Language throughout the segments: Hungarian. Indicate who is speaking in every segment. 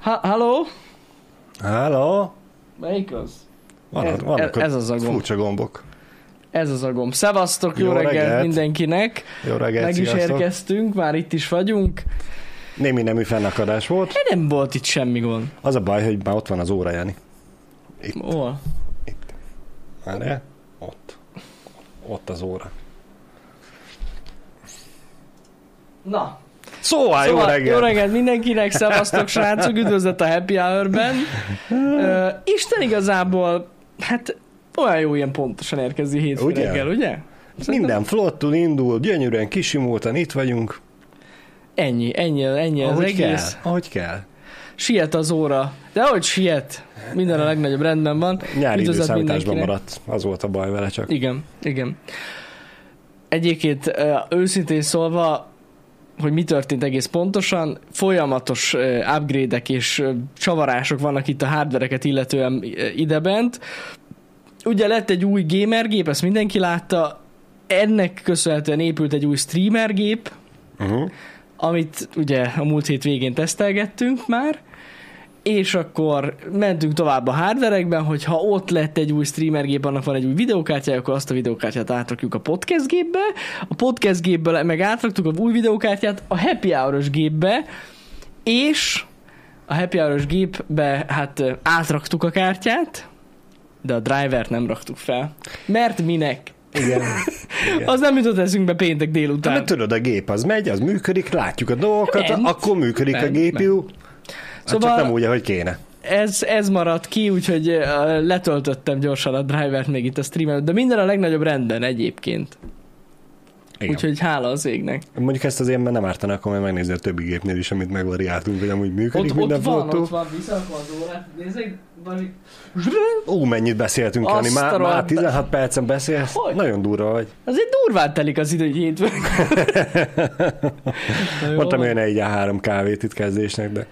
Speaker 1: Ha- Halló?
Speaker 2: Hello?
Speaker 1: Melyik az?
Speaker 2: Van,
Speaker 1: Ez-
Speaker 2: van,
Speaker 1: ez az a gomb.
Speaker 2: Furcsa gombok.
Speaker 1: Ez az agom. Szevasztok, jó,
Speaker 2: Jó
Speaker 1: reggelt,
Speaker 2: reggelt.
Speaker 1: mindenkinek.
Speaker 2: Jó reggelt,
Speaker 1: Meg is
Speaker 2: sziasztok.
Speaker 1: érkeztünk, már itt is vagyunk.
Speaker 2: Némi nemű fennakadás volt.
Speaker 1: De nem volt itt semmi gond.
Speaker 2: Az a baj, hogy már ott van az óra, Jani.
Speaker 1: Hol?
Speaker 2: Erre? Ott. Ott az óra.
Speaker 1: Na.
Speaker 2: Szóval, szóval jó
Speaker 1: Szóval, jó
Speaker 2: reggelt!
Speaker 1: reggelt mindenkinek, szevasztok srácok, üdvözlet a Happy Hour-ben. Ö, Isten igazából, hát olyan jó ilyen pontosan érkezni hétfő
Speaker 2: Ugye?
Speaker 1: reggel, ugye?
Speaker 2: Minden flottul indul, gyönyörűen kisimultan itt vagyunk.
Speaker 1: Ennyi, ennyi, ennyi az
Speaker 2: ahogy kell,
Speaker 1: egész.
Speaker 2: ahogy kell.
Speaker 1: Siet az óra. De hogy siet, minden a legnagyobb rendben van. Üdvözlet
Speaker 2: Nyári időszámításban
Speaker 1: mindenkinek.
Speaker 2: maradt, az volt a baj vele csak.
Speaker 1: Igen, igen. Egyébként ö, őszintén szólva, hogy mi történt egész pontosan, folyamatos ö, upgrade-ek és ö, csavarások vannak itt a hardvereket illetően ö, idebent. Ugye lett egy új gamergép, ezt mindenki látta, ennek köszönhetően épült egy új streamergép,
Speaker 2: Uh-huh.
Speaker 1: amit ugye a múlt hét végén tesztelgettünk már, és akkor mentünk tovább a hardverekben, hogy ha ott lett egy új streamergép, annak van egy új videókártyája, akkor azt a videókártyát átrakjuk a podcast gépbe, a podcast gépből meg átraktuk a új videókártyát a happy hour gépbe, és a happy hour gépbe hát ö, átraktuk a kártyát, de a drivert nem raktuk fel. Mert minek?
Speaker 2: Igen. Igen.
Speaker 1: Az nem jutott eszünkbe péntek délután.
Speaker 2: Hát tudod, a gép az megy, az működik, látjuk a dolgokat,
Speaker 1: Ment.
Speaker 2: akkor működik a
Speaker 1: Ment,
Speaker 2: GPU. Szóval...
Speaker 1: Szóval-
Speaker 2: Hát csak nem úgy, ahogy kéne.
Speaker 1: ez, ez maradt ki, úgyhogy ö, letöltöttem gyorsan a drivert még itt a stream előtt, de minden a legnagyobb rendben egyébként.
Speaker 2: Igen.
Speaker 1: Úgyhogy hála az égnek.
Speaker 2: Mondjuk ezt azért már nem ártana, akkor már megnézni a többi gépnél is, amit megvariáltunk, hogy amúgy működik
Speaker 1: Ott,
Speaker 2: ott, minden
Speaker 1: ott van,
Speaker 2: flottó.
Speaker 1: ott van, viszem az órát, nézzek, valami...
Speaker 2: Ú, mennyit beszéltünk, Jani, már,
Speaker 1: Azt a
Speaker 2: már
Speaker 1: rohadt-
Speaker 2: 16 percen beszélsz.
Speaker 1: Hogy?
Speaker 2: Nagyon durva vagy.
Speaker 1: Azért durván telik az idő egy hétfőn. Na jó.
Speaker 2: Mondtam én egy a három kávét itt kezdésnek, de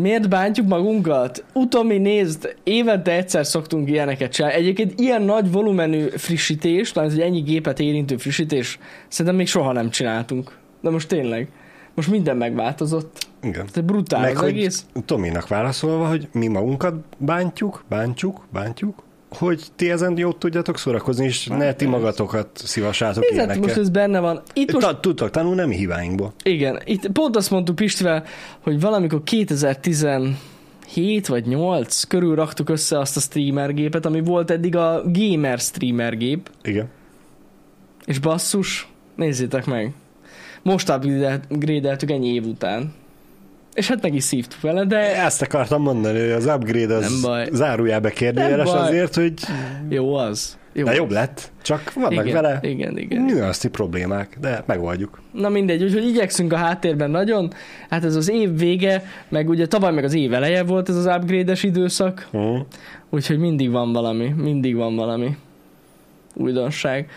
Speaker 1: Miért bántjuk magunkat? Utomi nézd, évente egyszer szoktunk ilyeneket csinálni. Egyébként ilyen nagy volumenű frissítés, tehát egy ennyi gépet érintő frissítés, szerintem még soha nem csináltunk. De most tényleg. Most minden megváltozott.
Speaker 2: igen.
Speaker 1: Ez brutál Meg az
Speaker 2: hogy
Speaker 1: egész.
Speaker 2: Tominak válaszolva, hogy mi magunkat bántjuk, bántjuk, bántjuk, hogy ti ezen jót tudjatok szórakozni, és ne ti magatokat szívassátok
Speaker 1: Nézd, hát most
Speaker 2: ilyenekkel.
Speaker 1: ez benne van. Itt most,
Speaker 2: Ta- Tudtok tanulni nem hibáinkból.
Speaker 1: igen, itt pont azt mondtuk Pistivel, hogy valamikor 2017 vagy 8 körül raktuk össze azt a streamer gépet, ami volt eddig a gamer streamer gép,
Speaker 2: Igen.
Speaker 1: és basszus, nézzétek meg. Most upgrade-eltük ennyi év után. És hát meg is szívtuk vele, de
Speaker 2: Ezt akartam mondani, hogy az upgrade
Speaker 1: Nem
Speaker 2: az
Speaker 1: baj.
Speaker 2: zárójelbe kérdőjeles
Speaker 1: Nem baj.
Speaker 2: azért, hogy
Speaker 1: jó az. Jó.
Speaker 2: de jobb lett, csak vannak
Speaker 1: igen,
Speaker 2: vele
Speaker 1: igen, igen.
Speaker 2: nüansznyi problémák, de megoldjuk.
Speaker 1: Na mindegy, úgyhogy igyekszünk a háttérben nagyon. Hát ez az év vége, meg ugye tavaly meg az év eleje volt ez az upgrade-es időszak,
Speaker 2: Mm.
Speaker 1: úgyhogy mindig van valami, mindig van valami újdonság.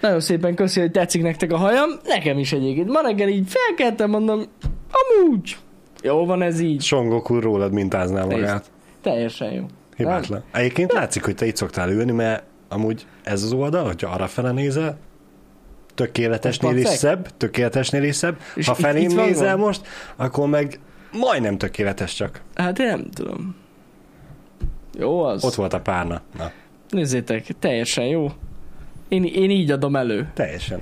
Speaker 1: Nagyon szépen köszi, hogy tetszik nektek a hajam, nekem is egyébként. Ma reggel így felkeltem, mondom, amúgy, jó van ez így,
Speaker 2: Songok úr rólad mintázná
Speaker 1: Nézd.
Speaker 2: magát.
Speaker 1: teljesen jó.
Speaker 2: Hibátlan. Egyébként látszik, hogy te itt szoktál ülni, mert amúgy ez az oldal, hogyha arra fele nézel, tökéletesnél
Speaker 1: Pacek?
Speaker 2: is szebb, tökéletesnél is szebb.
Speaker 1: És
Speaker 2: ha
Speaker 1: itt-
Speaker 2: felém
Speaker 1: itt van
Speaker 2: nézel
Speaker 1: gond?
Speaker 2: most, akkor meg majdnem tökéletes csak.
Speaker 1: Hát én nem tudom. Jó az.
Speaker 2: Ott volt a párna. Na,
Speaker 1: Nézzétek, teljesen jó. Én, én így adom elő.
Speaker 2: teljesen.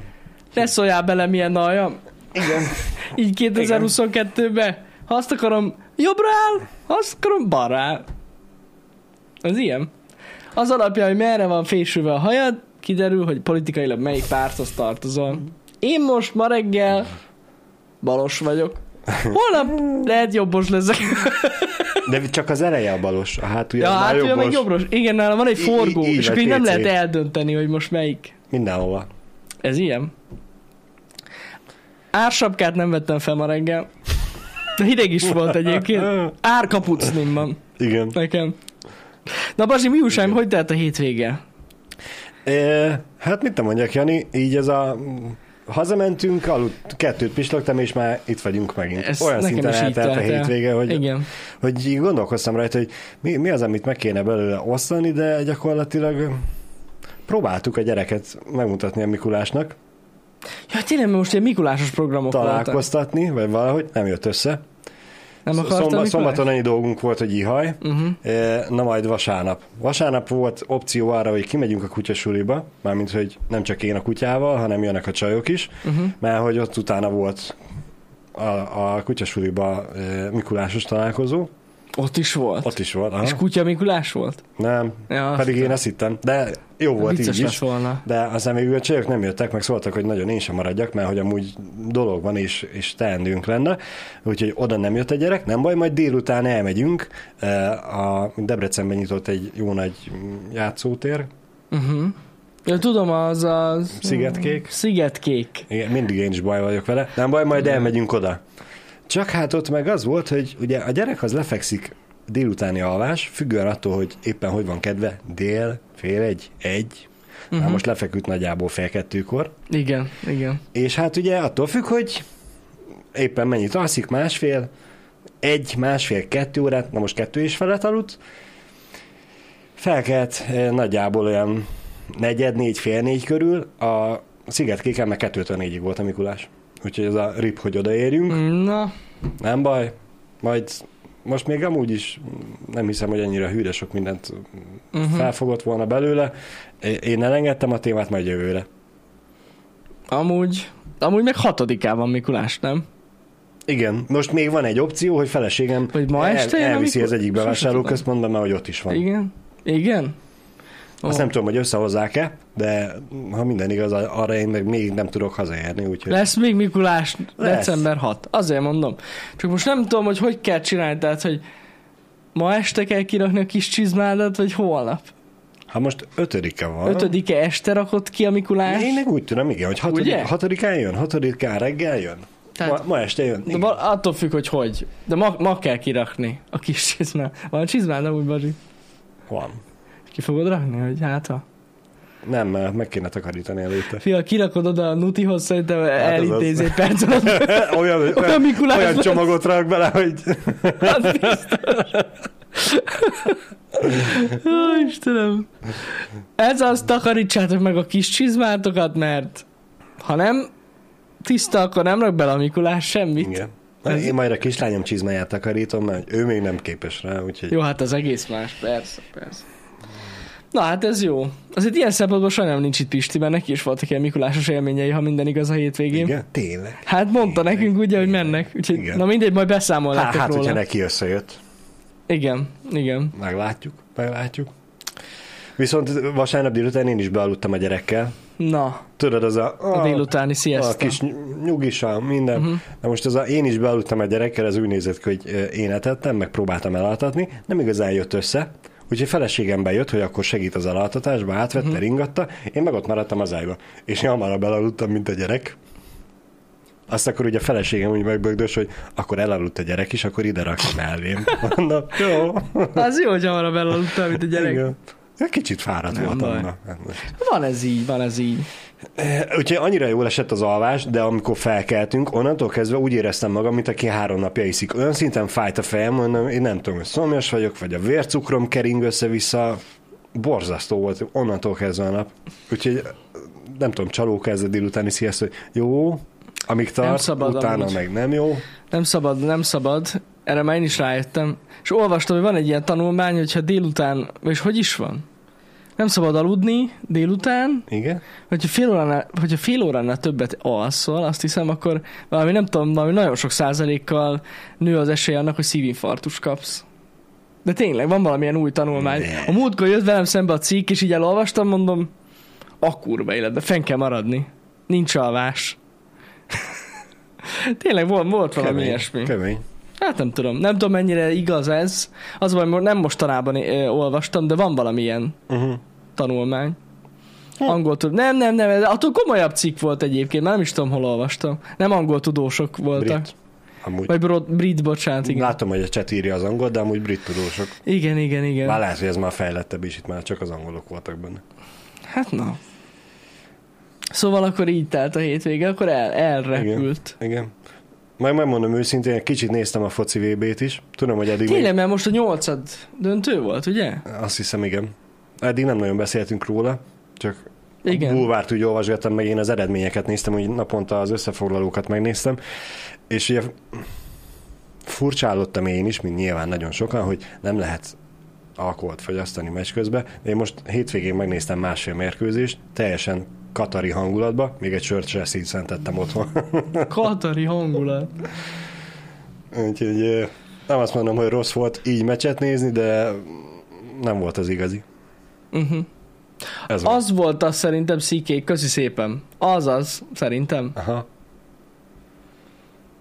Speaker 1: Ne szóljál bele, milyen alja. Igen. Így 2022-be. Ha azt akarom, jobbra áll, ha azt akarom, balra áll. Az ilyen. Az alapja, hogy merre van fésülve a hajad, kiderül, hogy politikailag melyik párthoz tartozol. Én most ma reggel balos vagyok. Holnap lehet jobbos leszek.
Speaker 2: De csak az eleje a balos, a hátulja,
Speaker 1: Ja,
Speaker 2: már
Speaker 1: hát ugye meg
Speaker 2: jobbos.
Speaker 1: jobbos. Igen, nálam van egy
Speaker 2: Í- í-
Speaker 1: forgó,
Speaker 2: így
Speaker 1: és akkor
Speaker 2: vagy
Speaker 1: így nem
Speaker 2: PC.
Speaker 1: lehet eldönteni, hogy most melyik.
Speaker 2: Mindenhova.
Speaker 1: Ez ilyen. Ársapkát nem vettem fel ma reggel. De hideg is volt egyébként. Árkapucnim van
Speaker 2: Igen.
Speaker 1: nekem. Na Bazsi, mi újság,
Speaker 2: Igen.
Speaker 1: hogy telt a hétvége?
Speaker 2: É, hát mit nem mondjak, Jani, így ez a... Hazamentünk, aludt, kettőt pislogtam, és már itt vagyunk megint.
Speaker 1: Ez
Speaker 2: Ez Olyan
Speaker 1: nekem
Speaker 2: szinten
Speaker 1: is így
Speaker 2: eltelt a
Speaker 1: telt el.
Speaker 2: hétvége, hogy,
Speaker 1: Igen.
Speaker 2: hogy így gondolkoztam rajta, hogy mi, mi az, amit meg kéne belőle osztani, de gyakorlatilag próbáltuk a gyereket megmutatni a Mikulásnak,
Speaker 1: Ja, tényleg, mert most ilyen Mikulásos programok voltak.
Speaker 2: találkoztatni, vagy valahogy nem jött össze.
Speaker 1: Nem akartam
Speaker 2: Szomba,
Speaker 1: Miklós?
Speaker 2: szombaton ennyi dolgunk volt, hogy ihaj,
Speaker 1: Uh-huh.
Speaker 2: E, Na majd vasárnap. Vasárnap volt opció arra, hogy kimegyünk a kutyasuliba, mármint, hogy nem csak én a kutyával, hanem jönnek a csajok is,
Speaker 1: Uh-huh.
Speaker 2: mert hogy ott utána volt a, a kutyasuliba e, Mikulásos találkozó.
Speaker 1: Ott is volt. Ott
Speaker 2: Ott is volt.
Speaker 1: és
Speaker 2: Aha.
Speaker 1: Kutya Mikulás volt?
Speaker 2: Nem,
Speaker 1: Ja,
Speaker 2: pedig én ezt hittem. De jó volt
Speaker 1: Vicces
Speaker 2: így
Speaker 1: lett
Speaker 2: is.
Speaker 1: volna.
Speaker 2: De aztán végül a csajok nem jöttek, meg szóltak, hogy nagyon én sem maradjak, mert hogy amúgy dolog van és, és teendőnk lenne, úgyhogy oda nem jött a gyerek, nem baj, majd délután elmegyünk. E, A Debrecenben nyitott egy jó nagy játszótér,
Speaker 1: Uh-huh. Ja, tudom, az a...
Speaker 2: Szigetkék.
Speaker 1: Szigetkék.
Speaker 2: Igen, mindig én is baj vagyok vele, nem baj, majd
Speaker 1: Igen.
Speaker 2: elmegyünk oda. Csak hát ott meg az volt, hogy ugye a gyerek az lefekszik délutáni alvás, függően attól, hogy éppen hogy van kedve, dél, fél egy, egy, uh-huh.
Speaker 1: Mhm.
Speaker 2: most lefeküdt nagyjából fél kettőkor,
Speaker 1: Igen, igen.
Speaker 2: És hát ugye attól függ, hogy éppen mennyit alszik, másfél, egy, másfél, kettő órát, na most kettő és felett aludt, felkelt eh, nagyjából olyan negyed, négy, fél négy körül, a Szigetkéken meg kettőtől négyig volt a Mikulás. Úgyhogy ez a rip, hogy odaérjünk,
Speaker 1: Hm.
Speaker 2: mm.
Speaker 1: Na,
Speaker 2: nem baj, majd most még amúgy is nem hiszem, hogy ennyire hűre sok mindent
Speaker 1: uh-huh.
Speaker 2: felfogott volna belőle. Én elengedtem a témát majd jövőre.
Speaker 1: amúgy... Amúgy meg hatodikán van Mikulás, nem?
Speaker 2: Igen, most még van egy opció, hogy feleségem
Speaker 1: Hogy ma este jön,
Speaker 2: elviszi
Speaker 1: amikor-
Speaker 2: az egyik
Speaker 1: Sose
Speaker 2: bevásárlóközpontba, mert hogy ott is van. Igen.
Speaker 1: Igen? Igen?
Speaker 2: Azt nem tudom, hogy összehozzák-e, de ha minden igaz, arra én meg még nem tudok hazajárni, úgyhogy...
Speaker 1: Lesz még Mikulás
Speaker 2: Lesz.
Speaker 1: december 6. Azért mondom. Csak most nem tudom, hogy hogy kell csinálni, tehát, hogy ma este kell kirakni a kis csizmádat, vagy holnap?
Speaker 2: Ha most ötödike van...
Speaker 1: Ötödike este rakott ki a Mikulás?
Speaker 2: Én meg úgy tudom, igen, hogy hatodik,
Speaker 1: Ugye?
Speaker 2: hatodikán jön, hatodikán reggel jön.
Speaker 1: Tehát-
Speaker 2: Tehát... Ma, ma, este jön.
Speaker 1: De
Speaker 2: Igen.
Speaker 1: val- attól függ, hogy hogy. De ma, ma kell kirakni a kis csizmát. Van csizmád, nem úgy, Bari?
Speaker 2: Van.
Speaker 1: Ki fogod rakni, hogy hát ha?
Speaker 2: Nem, mert meg kéne takarítani előtte.
Speaker 1: Fia, kirakod oda a nutihoz, szerintem elintézi
Speaker 2: Hát az.
Speaker 1: egy perc alatt.
Speaker 2: olyan,
Speaker 1: Olyan
Speaker 2: olyan,
Speaker 1: Mikulás
Speaker 2: olyan
Speaker 1: lesz.
Speaker 2: csomagot rak bele, hogy
Speaker 1: Az biztos. Ó, Istenem. Ez az, takarítsátok meg a kis csizmátokat, mert ha nem tiszta, akkor nem rak bele a Mikulás semmit.
Speaker 2: Igen. Én majd a kislányom csizmáját takarítom, mert ő még nem képes rá, úgyhogy...
Speaker 1: Jó, hát az egész más, persze, persze. Na hát ez jó. Azért ilyen szempontból sajnálom nincs itt Pisti, mert neki is voltak ilyen Mikulásos élményei, ha minden igaz a hétvégén.
Speaker 2: Igen, tényleg.
Speaker 1: Hát mondta
Speaker 2: Igen.
Speaker 1: nekünk ugye, hogy mennek. Úgyhogy,
Speaker 2: Igen.
Speaker 1: na mindegy, majd
Speaker 2: Hát,
Speaker 1: beszámolnátok
Speaker 2: hát
Speaker 1: róla.
Speaker 2: hogyha neki összejött,
Speaker 1: Igen, igen.
Speaker 2: meglátjuk, meglátjuk. Viszont vasárnap délután én is bealudtam a gyerekkel.
Speaker 1: Na,
Speaker 2: Tudod, az a, Ah,
Speaker 1: a
Speaker 2: a,
Speaker 1: délutáni
Speaker 2: a
Speaker 1: sziasztok.
Speaker 2: kis ny- nyugisa, minden.
Speaker 1: Mhm.
Speaker 2: Uh-huh. Na most az a, én is bealudtam a gyerekkel, ez úgy nézett ki, hogy ö, én etettem, meg próbáltam elaltatni, nem igazán jött össze. Úgyhogy feleségem bejött, hogy akkor segít az elaltatásba, átvette,
Speaker 1: Mhm.
Speaker 2: uh-huh. ringatta, én meg ott maradtam az ágyba. És én hamarabb elaludtam, mint a gyerek. Azt akkor ugye a feleségem úgy megbögdös, hogy akkor elaludt a gyerek is, akkor ide rakj mellém. Mondom, jó.
Speaker 1: Az jó, hogy hamarabb elaludtál, mint a gyerek.
Speaker 2: Igen. Ja, Kicsit fáradt
Speaker 1: Nem
Speaker 2: voltam.
Speaker 1: baj.
Speaker 2: na, hát most.
Speaker 1: Van ez így, van ez így.
Speaker 2: Eh, Úgyhogy annyira jól esett az alvás, de amikor felkeltünk, onnantól kezdve úgy éreztem magam, mint aki három napja iszik. Olyan szinten fájt a fejem, mondom, én nem tudom, hogy szomjas vagyok, vagy a vércukrom kering össze-vissza. Borzasztó volt onnantól kezdve a nap. Úgyhogy eh, nem tudom, csalóka ez a délutáni sziaszt, hogy jó, amíg tart,
Speaker 1: szabad
Speaker 2: utána
Speaker 1: amúgy.
Speaker 2: meg nem jó.
Speaker 1: Nem szabad, nem szabad. Erre már én is rájöttem. És olvastam, hogy van egy ilyen tanulmány, hogyha délután, és hogy is van? Nem szabad aludni délután,
Speaker 2: Igen?
Speaker 1: hogyha fél óránál, hogyha fél óránál többet alszol, azt hiszem, akkor valami, nem tudom, valami nagyon sok százalékkal nő az esély annak, hogy szívinfarktus kapsz. De tényleg, van valamilyen új tanulmány.
Speaker 2: Ne.
Speaker 1: A múltkor jött velem szembe a cikk, és így elolvastam, mondom, a kurva életbe, fenn kell maradni. Nincs alvás. tényleg volt, volt valami ilyesmi.
Speaker 2: kemény.
Speaker 1: Hát nem tudom, nem tudom mennyire igaz ez. Az van, nem mostanában ö, olvastam, de van valamilyen
Speaker 2: Uh-huh.
Speaker 1: tanulmány. Angol tud... Nem, nem, nem, ez attól komolyabb cikk volt egyébként, már nem is tudom, hol olvastam. Nem angol tudósok voltak.
Speaker 2: Brit. Amúgy.
Speaker 1: Vagy bro- brit, bocsánat, igen.
Speaker 2: Látom, hogy a chat írja az angolt, de amúgy brit tudósok.
Speaker 1: Igen, igen, igen.
Speaker 2: Már lehet, hogy ez már fejlettebb is, itt már csak az angolok voltak benne.
Speaker 1: Hát na. Szóval akkor így telt a hétvége, akkor el, elrepült.
Speaker 2: Igen. Meg megmondom őszintén, kicsit néztem a foci VB-t is. Tudom, hogy eddig...
Speaker 1: Tényleg, mert most a nyolcad döntő volt, ugye?
Speaker 2: Még, azt hiszem, igen. Eddig nem nagyon beszéltünk róla, csak igen.
Speaker 1: Igen.
Speaker 2: a bulvárt úgy olvasgattam, meg én az eredményeket néztem, úgy naponta az összefoglalókat megnéztem. És ugye furcsálottam én is, mint nyilván nagyon sokan, hogy nem lehet alkoholt fogyasztani meccs közben. Én most hétvégén megnéztem másfél mérkőzést, teljesen katari hangulatba, még egy sört se színszentettem otthon.
Speaker 1: Katari hangulat.
Speaker 2: Úgyhogy nem azt mondom, hogy rossz volt így meccset nézni, de nem volt az igazi.
Speaker 1: Uh-huh.
Speaker 2: Ez volt.
Speaker 1: Az volt az szerintem szikék, köszi szépen. Az az, szerintem.
Speaker 2: Aha.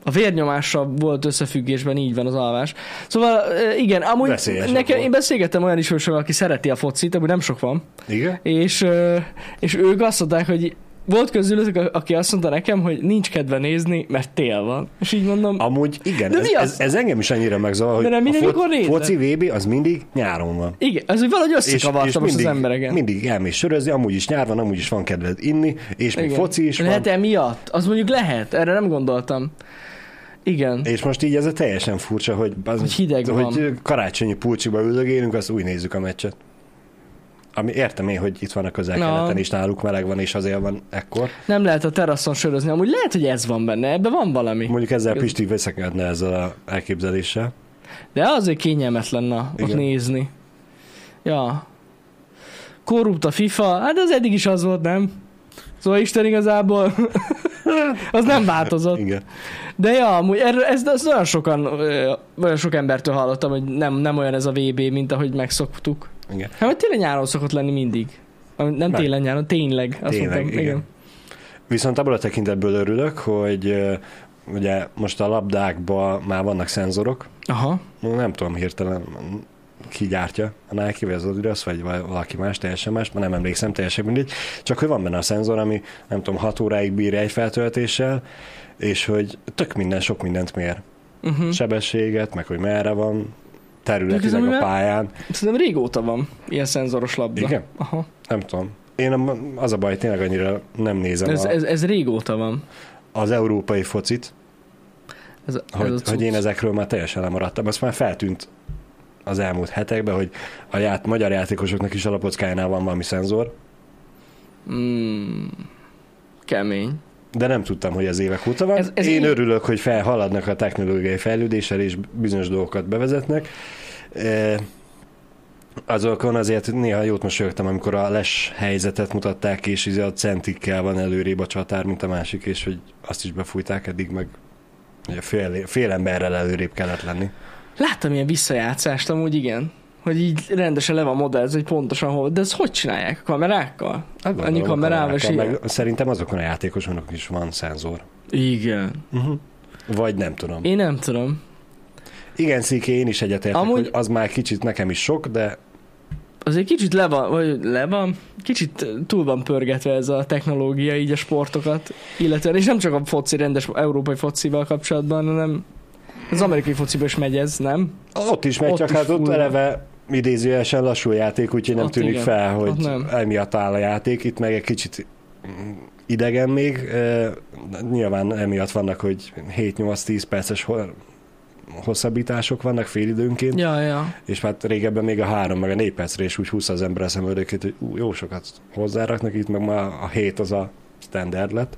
Speaker 1: A vérnyomással volt összefüggésben, így van az alvás. Szóval ö, igen, amúgy
Speaker 2: Veszélyesebb
Speaker 1: nekem,
Speaker 2: volt.
Speaker 1: én beszélgettem olyan ismerősömmel, aki szereti a focit, amúgy nem sok van,
Speaker 2: Igen?
Speaker 1: és, ö, és ők azt mondták, hogy volt közülük, a- aki azt mondta nekem, hogy nincs kedve nézni, mert tél van. És így mondom,
Speaker 2: Amúgy igen,
Speaker 1: De
Speaker 2: ez,
Speaker 1: mi az?
Speaker 2: ez, ez, engem is annyira megzavar, hogy
Speaker 1: De nem
Speaker 2: a
Speaker 1: mindegy, mikor nézed?
Speaker 2: foci VB az mindig nyáron van.
Speaker 1: igen, ez hogy valahogy összekavartam most az embereken.
Speaker 2: mindig elmész sörözni, amúgy is nyár van, amúgy is van kedved inni, és még
Speaker 1: Igen.
Speaker 2: foci is
Speaker 1: Lehet
Speaker 2: van.
Speaker 1: emiatt? Az mondjuk lehet, erre nem gondoltam. Igen.
Speaker 2: És most így ez a teljesen furcsa, hogy, az,
Speaker 1: Hogy hideg
Speaker 2: hogy
Speaker 1: van.
Speaker 2: karácsonyi pulcsiba üldögélünk, azt úgy nézzük a meccset. Ami értem én, hogy itt van a közel-keleten,
Speaker 1: Na.
Speaker 2: és náluk meleg van, és azért van ekkor.
Speaker 1: Nem lehet a teraszon sörözni, amúgy lehet, hogy ez van benne, ebben van valami.
Speaker 2: Mondjuk ezzel Pisti veszekedne ezzel a elképzeléssel.
Speaker 1: De azért kényelmetlen na, ott
Speaker 2: Igen.
Speaker 1: nézni. Ja. Korrupt a FIFA, hát az eddig is az volt, nem? Szóval Isten igazából az nem változott.
Speaker 2: Igen.
Speaker 1: De ja, amúgy erről, ezt, ezt olyan sokan, ö, olyan sok embertől hallottam, hogy nem, nem olyan ez a VB, mint ahogy megszoktuk.
Speaker 2: Igen.
Speaker 1: Hát mert tényleg nyáron szokott lenni mindig. Ami- Nem
Speaker 2: Meg.
Speaker 1: télen nyáron, tényleg. Azt
Speaker 2: Tényleg,
Speaker 1: mondtam, igen.
Speaker 2: igen. Viszont abból a tekintetből örülök, hogy ö, ugye most a labdákban már vannak szenzorok,
Speaker 1: Aha.
Speaker 2: nem tudom hirtelen ki gyártja, a Nike, vagy az Adidas, vagy val- valaki más, teljesen más, már nem emlékszem, teljesen mindegy, csak hogy van benne a szenzor, ami nem tudom, 6 óráig bír egy feltöltéssel, és hogy tök minden, sok mindent mér.
Speaker 1: Uh-huh.
Speaker 2: Sebességet, meg hogy merre van,
Speaker 1: Ez
Speaker 2: területileg
Speaker 1: amúgy
Speaker 2: a
Speaker 1: már-
Speaker 2: pályán,
Speaker 1: Szerintem régóta van ilyen szenzoros labda.
Speaker 2: Igen?
Speaker 1: Aha.
Speaker 2: nem tudom. Én a- az a baj, tényleg annyira nem nézem
Speaker 1: Ez,
Speaker 2: a,
Speaker 1: ez, ez régóta van.
Speaker 2: az európai focit,
Speaker 1: Ez, a- ez a
Speaker 2: hogy,
Speaker 1: cucc.
Speaker 2: hogy én ezekről már teljesen lemaradtam. Azt már feltűnt az elmúlt hetekben, hogy a ját, magyar játékosoknak is alapockájánál van valami szenzor,
Speaker 1: Mm, kemény.
Speaker 2: de nem tudtam, hogy ez évek óta van. Ez,
Speaker 1: Ez- ez
Speaker 2: én
Speaker 1: így-
Speaker 2: örülök, hogy felhaladnak a technológiai fejlődéssel, és bizonyos dolgokat bevezetnek. E, Azokon azért néha jót mosolyogtam, amikor a les helyzetet mutatták, és izé a centikkel van előrébb a csatár, mint a másik, és hogy azt is befújták eddig, meg ugye fél, fél emberrel előrébb kellett lenni.
Speaker 1: Hát Láttam ilyen visszajátszást amúgy, igen. Hogy így rendesen le van modellezve, hogy pontosan hol. De ezt hogy csinálják? Kamerákkal?
Speaker 2: Hát
Speaker 1: Annyi
Speaker 2: gondolom, a
Speaker 1: kamerával és
Speaker 2: kamerákkal,
Speaker 1: ilyen.
Speaker 2: meg Szerintem azokon a játékosoknak is van szenzor.
Speaker 1: Igen.
Speaker 2: Uh-huh. Vagy nem tudom.
Speaker 1: Mhm. Én nem tudom.
Speaker 2: Igen, Sziké, én is egyetértek, Amúgy...
Speaker 1: Amúgy-
Speaker 2: hogy az már kicsit nekem is sok, de
Speaker 1: Azért kicsit le van, vagy le van, kicsit túl van pörgetve ez a technológia, így a sportokat, illetve, és nem csak a foci, rendes európai focival kapcsolatban, hanem az amerikai fociban is megy ez, nem?
Speaker 2: ott is megy,
Speaker 1: Ott
Speaker 2: csak
Speaker 1: is
Speaker 2: hát ott
Speaker 1: full.
Speaker 2: eleve idézőjesen lassú játék, úgyhogy nem
Speaker 1: Ott
Speaker 2: tűnik
Speaker 1: igen,
Speaker 2: fel, hogy
Speaker 1: ott nem.
Speaker 2: emiatt áll a játék. Itt meg egy kicsit mm, idegen még. eh, Nyilván emiatt vannak, hogy 7-8-10 perces ho- hosszabbítások vannak félidőnként.
Speaker 1: Ja, ja.
Speaker 2: És hát régebben még a három, meg a négy percre is úgy húzza az ember a szemöldökét, hogy ú, jó sokat hozzáraknak, itt meg már a hét az a standard lett.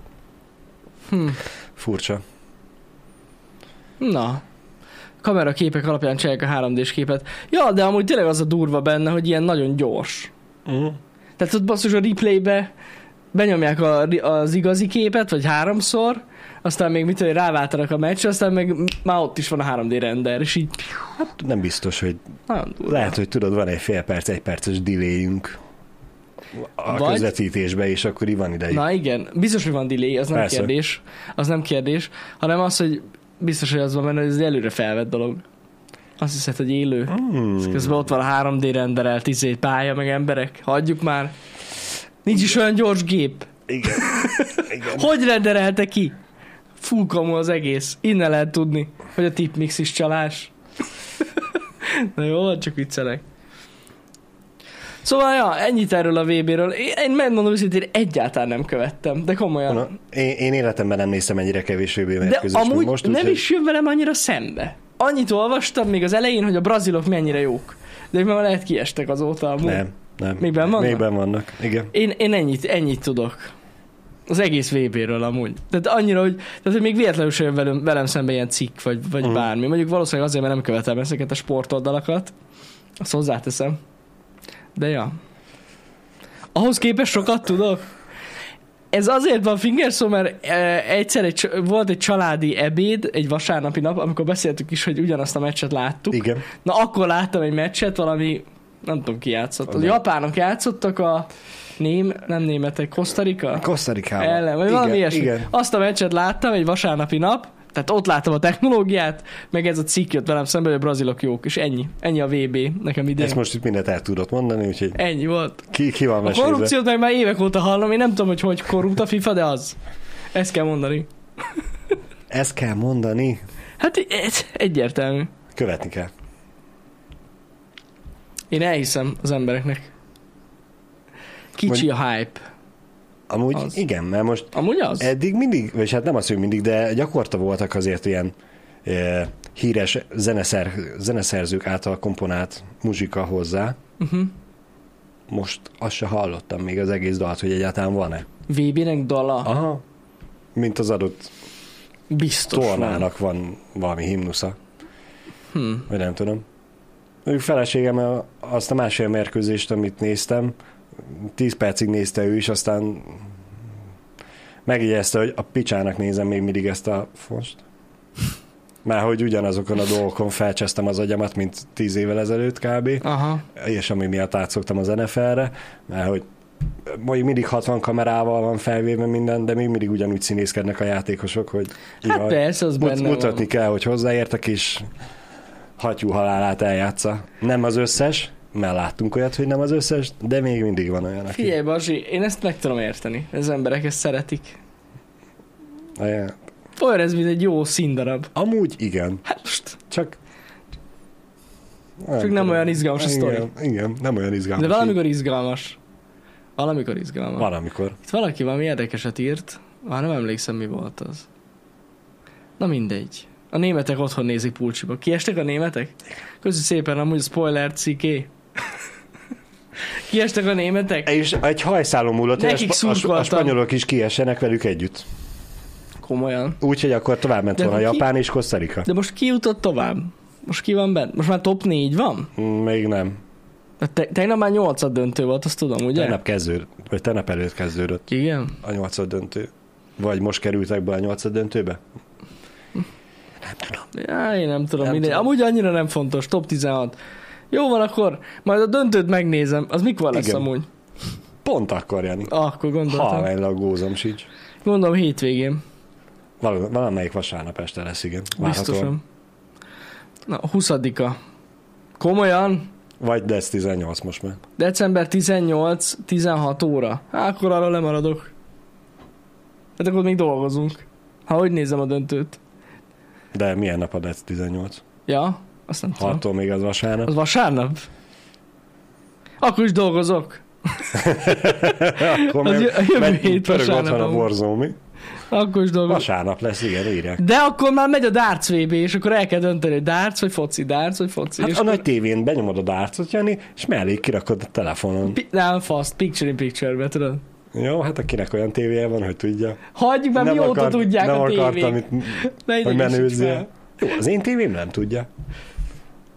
Speaker 1: Hm.
Speaker 2: Furcsa.
Speaker 1: Na. Kamera képek alapján csinálják a 3D-s képet. Ja, de amúgy tényleg az a durva benne, hogy ilyen nagyon gyors.
Speaker 2: Uh-huh.
Speaker 1: Tehát ott basszus a replaybe benyomják a, az igazi képet, vagy háromszor, aztán még mit tudom, én, ráváltanak a meccs, aztán meg már ott is van a 3D render, és így
Speaker 2: Nem biztos, hogy
Speaker 1: nagyon durva.
Speaker 2: lehet, hogy tudod, van egy fél perc, egy perces delayünk a
Speaker 1: Vagy-
Speaker 2: közvetítésbe, és akkor így van ideig.
Speaker 1: Na igen, biztos, hogy van delay, az nem
Speaker 2: Persze.
Speaker 1: Persze. kérdés. Az nem kérdés, hanem az, hogy biztos, hogy az van benne, hogy ez egy előre felvett dolog. Azt hiszed, hogy élő.
Speaker 2: Hmm.
Speaker 1: Hmm. Közben ott van a 3D renderelt izé, pálya, meg emberek. Hagyjuk már. Nincs is olyan gyors gép.
Speaker 2: Igen. Igen.
Speaker 1: Hogy renderelte ki? Full kamu az egész. Innen lehet tudni, hogy a tipmix is csalás. Na jó, van, csak viccelek. Szóval, ja, ennyit erről a VB-ről. Én, én megmondom őszintén, egyáltalán nem követtem, de komolyan.
Speaker 2: Na, én, én életemben nem néztem ennyire kevés VB
Speaker 1: De
Speaker 2: mérkőzést, mint
Speaker 1: amúgy
Speaker 2: most,
Speaker 1: most, nem
Speaker 2: úgyhogy-
Speaker 1: is jön velem annyira szembe. Annyit olvastam még az elején, hogy a brazilok mennyire jók. De ők már lehet kiestek azóta amúgy.
Speaker 2: Nem, nem.
Speaker 1: Még benn vannak?
Speaker 2: Még benn vannak, igen.
Speaker 1: Én, én ennyit, ennyit tudok. Az egész VB-ről amúgy. Tehát annyira, hogy, tehát, hogy még véletlenül sem jön velem, velem szembe ilyen cikk, vagy, vagy
Speaker 2: Mhm.
Speaker 1: uh-huh. bármi. Mondjuk valószínűleg azért, mert nem követem ezeket a sportoldalakat. Azt hozzáteszem. De ja. Ahhoz képest sokat tudok. Ez azért van fingerszó, mert eh, egyszer egy, cs- volt egy családi ebéd, egy vasárnapi nap, amikor beszéltük is, hogy ugyanazt a meccset láttuk.
Speaker 2: Igen.
Speaker 1: Na akkor láttam egy meccset, valami, nem tudom ki játszott. A
Speaker 2: Az-
Speaker 1: japánok játszottak a ném, nem németek, Kosztarika?
Speaker 2: Kosztarikában.
Speaker 1: Ellen, vagy valami
Speaker 2: igen,
Speaker 1: ilyesmi.
Speaker 2: igen.
Speaker 1: Azt a meccset láttam egy vasárnapi nap, tehát ott láttam a technológiát, meg ez a cikk jött velem szembe, hogy a brazilok jók, és ennyi. Ennyi a VB nekem idén.
Speaker 2: Ezt most itt mindent el tudod mondani, úgyhogy
Speaker 1: Ennyi volt.
Speaker 2: ki, ki van
Speaker 1: A
Speaker 2: mesélve.
Speaker 1: korrupciót meg már évek óta hallom, én nem tudom, hogy hogy korrupt a FIFA, de az. Ezt kell mondani.
Speaker 2: Ezt kell mondani,
Speaker 1: Hát ez egyértelmű.
Speaker 2: követni kell.
Speaker 1: Én elhiszem az embereknek. Kicsi a hype.
Speaker 2: Amúgy
Speaker 1: Az.
Speaker 2: igen, mert most
Speaker 1: Amúgy az?
Speaker 2: eddig mindig, vagy hát nem az, hogy mindig, de gyakorta voltak azért ilyen e, híres zeneszer, zeneszerzők által komponált muzsika hozzá.
Speaker 1: Uh-huh.
Speaker 2: Most azt se hallottam még az egész dalt, hogy egyáltalán van-e.
Speaker 1: VB-nek dala.
Speaker 2: Aha. Mint az adott
Speaker 1: Biztos
Speaker 2: tornának van valami himnusza,
Speaker 1: van. Hm.
Speaker 2: vagy nem tudom. Ő feleségem a- azt a másfél mérkőzést, amit néztem, 10 percig nézte ő is, aztán megjegyezte, hogy a picsának nézem még mindig ezt a fost. Már hogy ugyanazokon a dolgokon felcsesztem az agyamat, mint 10 évvel ezelőtt kb.
Speaker 1: Aha.
Speaker 2: És ami miatt átszoktam az NFL-re, mert hogy mondjuk mindig 60 kamerával van felvéve minden, de még mindig ugyanúgy színészkednek a játékosok, hogy
Speaker 1: Hát
Speaker 2: jaj,
Speaker 1: persze, az
Speaker 2: Mut,
Speaker 1: benne
Speaker 2: mutatni
Speaker 1: van.
Speaker 2: kell, hogy hozzáértek, és hattyú halálát eljátsza. Nem az összes, mert láttunk olyat, hogy nem az összes, de még mindig van olyan, aki...
Speaker 1: Figyelj, Bazsi, én ezt meg tudom érteni. Az emberek ezt szeretik.
Speaker 2: Olyan.
Speaker 1: Olyan ez, mint egy jó színdarab.
Speaker 2: Amúgy igen,
Speaker 1: Hát most,
Speaker 2: csak...
Speaker 1: csak nem
Speaker 2: tudom.
Speaker 1: olyan izgalmas a sztori.
Speaker 2: Igen, igen, nem olyan izgalmas.
Speaker 1: De
Speaker 2: így.
Speaker 1: valamikor izgalmas. Valamikor izgalmas.
Speaker 2: Valamikor.
Speaker 1: Itt valaki valami érdekeset írt, már nem emlékszem, mi volt az. Na mindegy. A németek otthon nézik pulcsiba. Kiestek a németek? Köszi szépen, amúgy spoiler ciké. Kiestek a németek?
Speaker 2: És egy hajszálon múlott, hogy a,
Speaker 1: Nekik
Speaker 2: spa- a, spa- a
Speaker 1: szurkoltam.
Speaker 2: spanyolok is kiesenek velük együtt.
Speaker 1: Komolyan.
Speaker 2: Úgyhogy akkor tovább ment
Speaker 1: De
Speaker 2: volna
Speaker 1: ki-
Speaker 2: Japán és Kosztarika.
Speaker 1: De most ki jutott tovább? Most ki van bent? Most már top 4 van?
Speaker 2: Mm, Még nem.
Speaker 1: Tehát Te, tegnap már 8 döntő volt, azt tudom, ugye?
Speaker 2: Tegnap kezdődött, vagy tegnap előtt kezdődött
Speaker 1: Igen.
Speaker 2: a nyolcad döntő. Vagy most kerültek be a nyolcad döntőbe?
Speaker 1: Já, én nem tudom, nem
Speaker 2: Nem
Speaker 1: mindegy.
Speaker 2: tudom.
Speaker 1: Tudom. Amúgy annyira nem fontos, top 16. Jó van akkor, majd a döntőt megnézem. Az mikor lesz
Speaker 2: Igen.
Speaker 1: Igen. amúgy?
Speaker 2: Pont akkor, Jani.
Speaker 1: Ah, akkor gondoltam. Ha,
Speaker 2: Halványlag gózom sincs.
Speaker 1: Gondolom hétvégén.
Speaker 2: Val- valamelyik vasárnap este lesz, igen. Várhatóan.
Speaker 1: Biztosan. Na, 20 -a. Komolyan?
Speaker 2: Vagy lesz 18 most már.
Speaker 1: December 18-16 óra. Há, akkor arra lemaradok. Hát akkor még dolgozunk. Ha hogy nézem a döntőt.
Speaker 2: De milyen nap a lesz 18?
Speaker 1: Ja, azt nem tudom.
Speaker 2: Hattól még az vasárnap.
Speaker 1: Az vasárnap? Akkor is dolgozok.
Speaker 2: Akkor
Speaker 1: az jö- jövő hét
Speaker 2: pörög
Speaker 1: vasárnap
Speaker 2: otthon a
Speaker 1: amúgy.
Speaker 2: borzómi.
Speaker 1: Akkor is dolgozok.
Speaker 2: Vasárnap lesz, igen, írják.
Speaker 1: De akkor már megy a darts VB, és akkor el kell dönteni, hogy darts vagy foci, darts vagy foci.
Speaker 2: Hát
Speaker 1: és
Speaker 2: a
Speaker 1: akkor-
Speaker 2: nagy tévén benyomod a dárcot, Jani, és mellé kirakod a telefonon.
Speaker 1: Pi- nem, fast, picture in picture-be, tudod.
Speaker 2: Jó, hát akinek olyan tévéje van, hogy tudja.
Speaker 1: Hagyjuk már, mióta
Speaker 2: akart-
Speaker 1: tudják
Speaker 2: nem
Speaker 1: a
Speaker 2: akartam,
Speaker 1: tévék.
Speaker 2: itt,
Speaker 1: Ne
Speaker 2: hogy
Speaker 1: idegesíts fel.
Speaker 2: menőzzél. Jó, az én tévém nem tudja.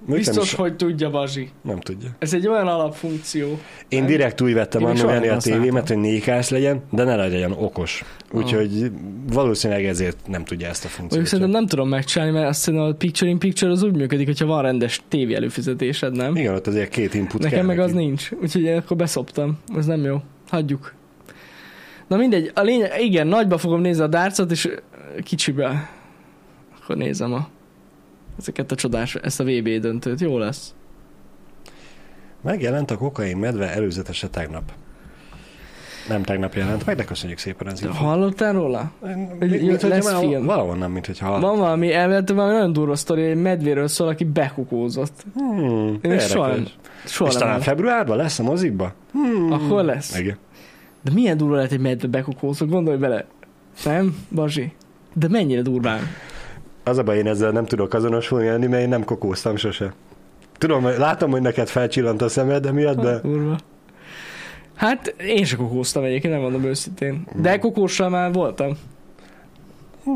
Speaker 2: Még nem,
Speaker 1: Biztos,
Speaker 2: is,
Speaker 1: hogy tudja, Bazsi.
Speaker 2: nem tudja.
Speaker 1: Ez egy olyan alapfunkció.
Speaker 2: Én
Speaker 1: Nem?
Speaker 2: direkt úgy vettem
Speaker 1: Én még
Speaker 2: annó
Speaker 1: soha
Speaker 2: Jani
Speaker 1: nem
Speaker 2: a tévémet, hogy 4 legyen, de ne legyen okos. Úgyhogy valószínűleg ezért nem tudja ezt a
Speaker 1: Mondjuk
Speaker 2: funkciót.
Speaker 1: szerintem nem tudom megcsinálni, mert azt szerintem a picture in picture az úgy működik, hogyha van rendes tévé előfizetésed, nem?
Speaker 2: Igen, ott azért két input
Speaker 1: Nekem
Speaker 2: kell
Speaker 1: meg az
Speaker 2: neki.
Speaker 1: nincs, úgyhogy én akkor beszoptam. Ez nem jó. Hagyjuk. Na mindegy, a lényeg, igen, nagyba fogom nézni a dárcot, és kicsibe akkor nézem a ezeket a csodás, ezt a VB döntőt. Jó lesz.
Speaker 2: Megjelent a kokain medve előzetese tegnap. Nem tegnap jelent meg, de köszönjük szépen az infót.
Speaker 1: Hallottál róla?
Speaker 2: Mint, mint,
Speaker 1: lesz
Speaker 2: hogyha
Speaker 1: film.
Speaker 2: Valahonnan, mint hogyha hallott.
Speaker 1: Van valami, elméletileg valami nagyon durva sztori, egy medvéről szól, aki bekukózott.
Speaker 2: Hmm,
Speaker 1: Én
Speaker 2: érdekes.
Speaker 1: soha nem-
Speaker 2: És
Speaker 1: Soha nem.
Speaker 2: talán
Speaker 1: hallottam.
Speaker 2: februárban lesz a mozikba? Hmm.
Speaker 1: Akkor lesz.
Speaker 2: Igen.
Speaker 1: De milyen durva lehet egy medve bekukózott, gondolj bele. Nem, Bazsi? De mennyire durván?
Speaker 2: Az a baj, én ezzel nem tudok azonosulni, Jani, mert én nem kokóztam sose. Tudom, látom, hogy neked felcsillant a szemed, de miatt, de
Speaker 1: Durva. Hát én se kokóztam egyébként, nem mondom őszintén. De kokóssal már voltam.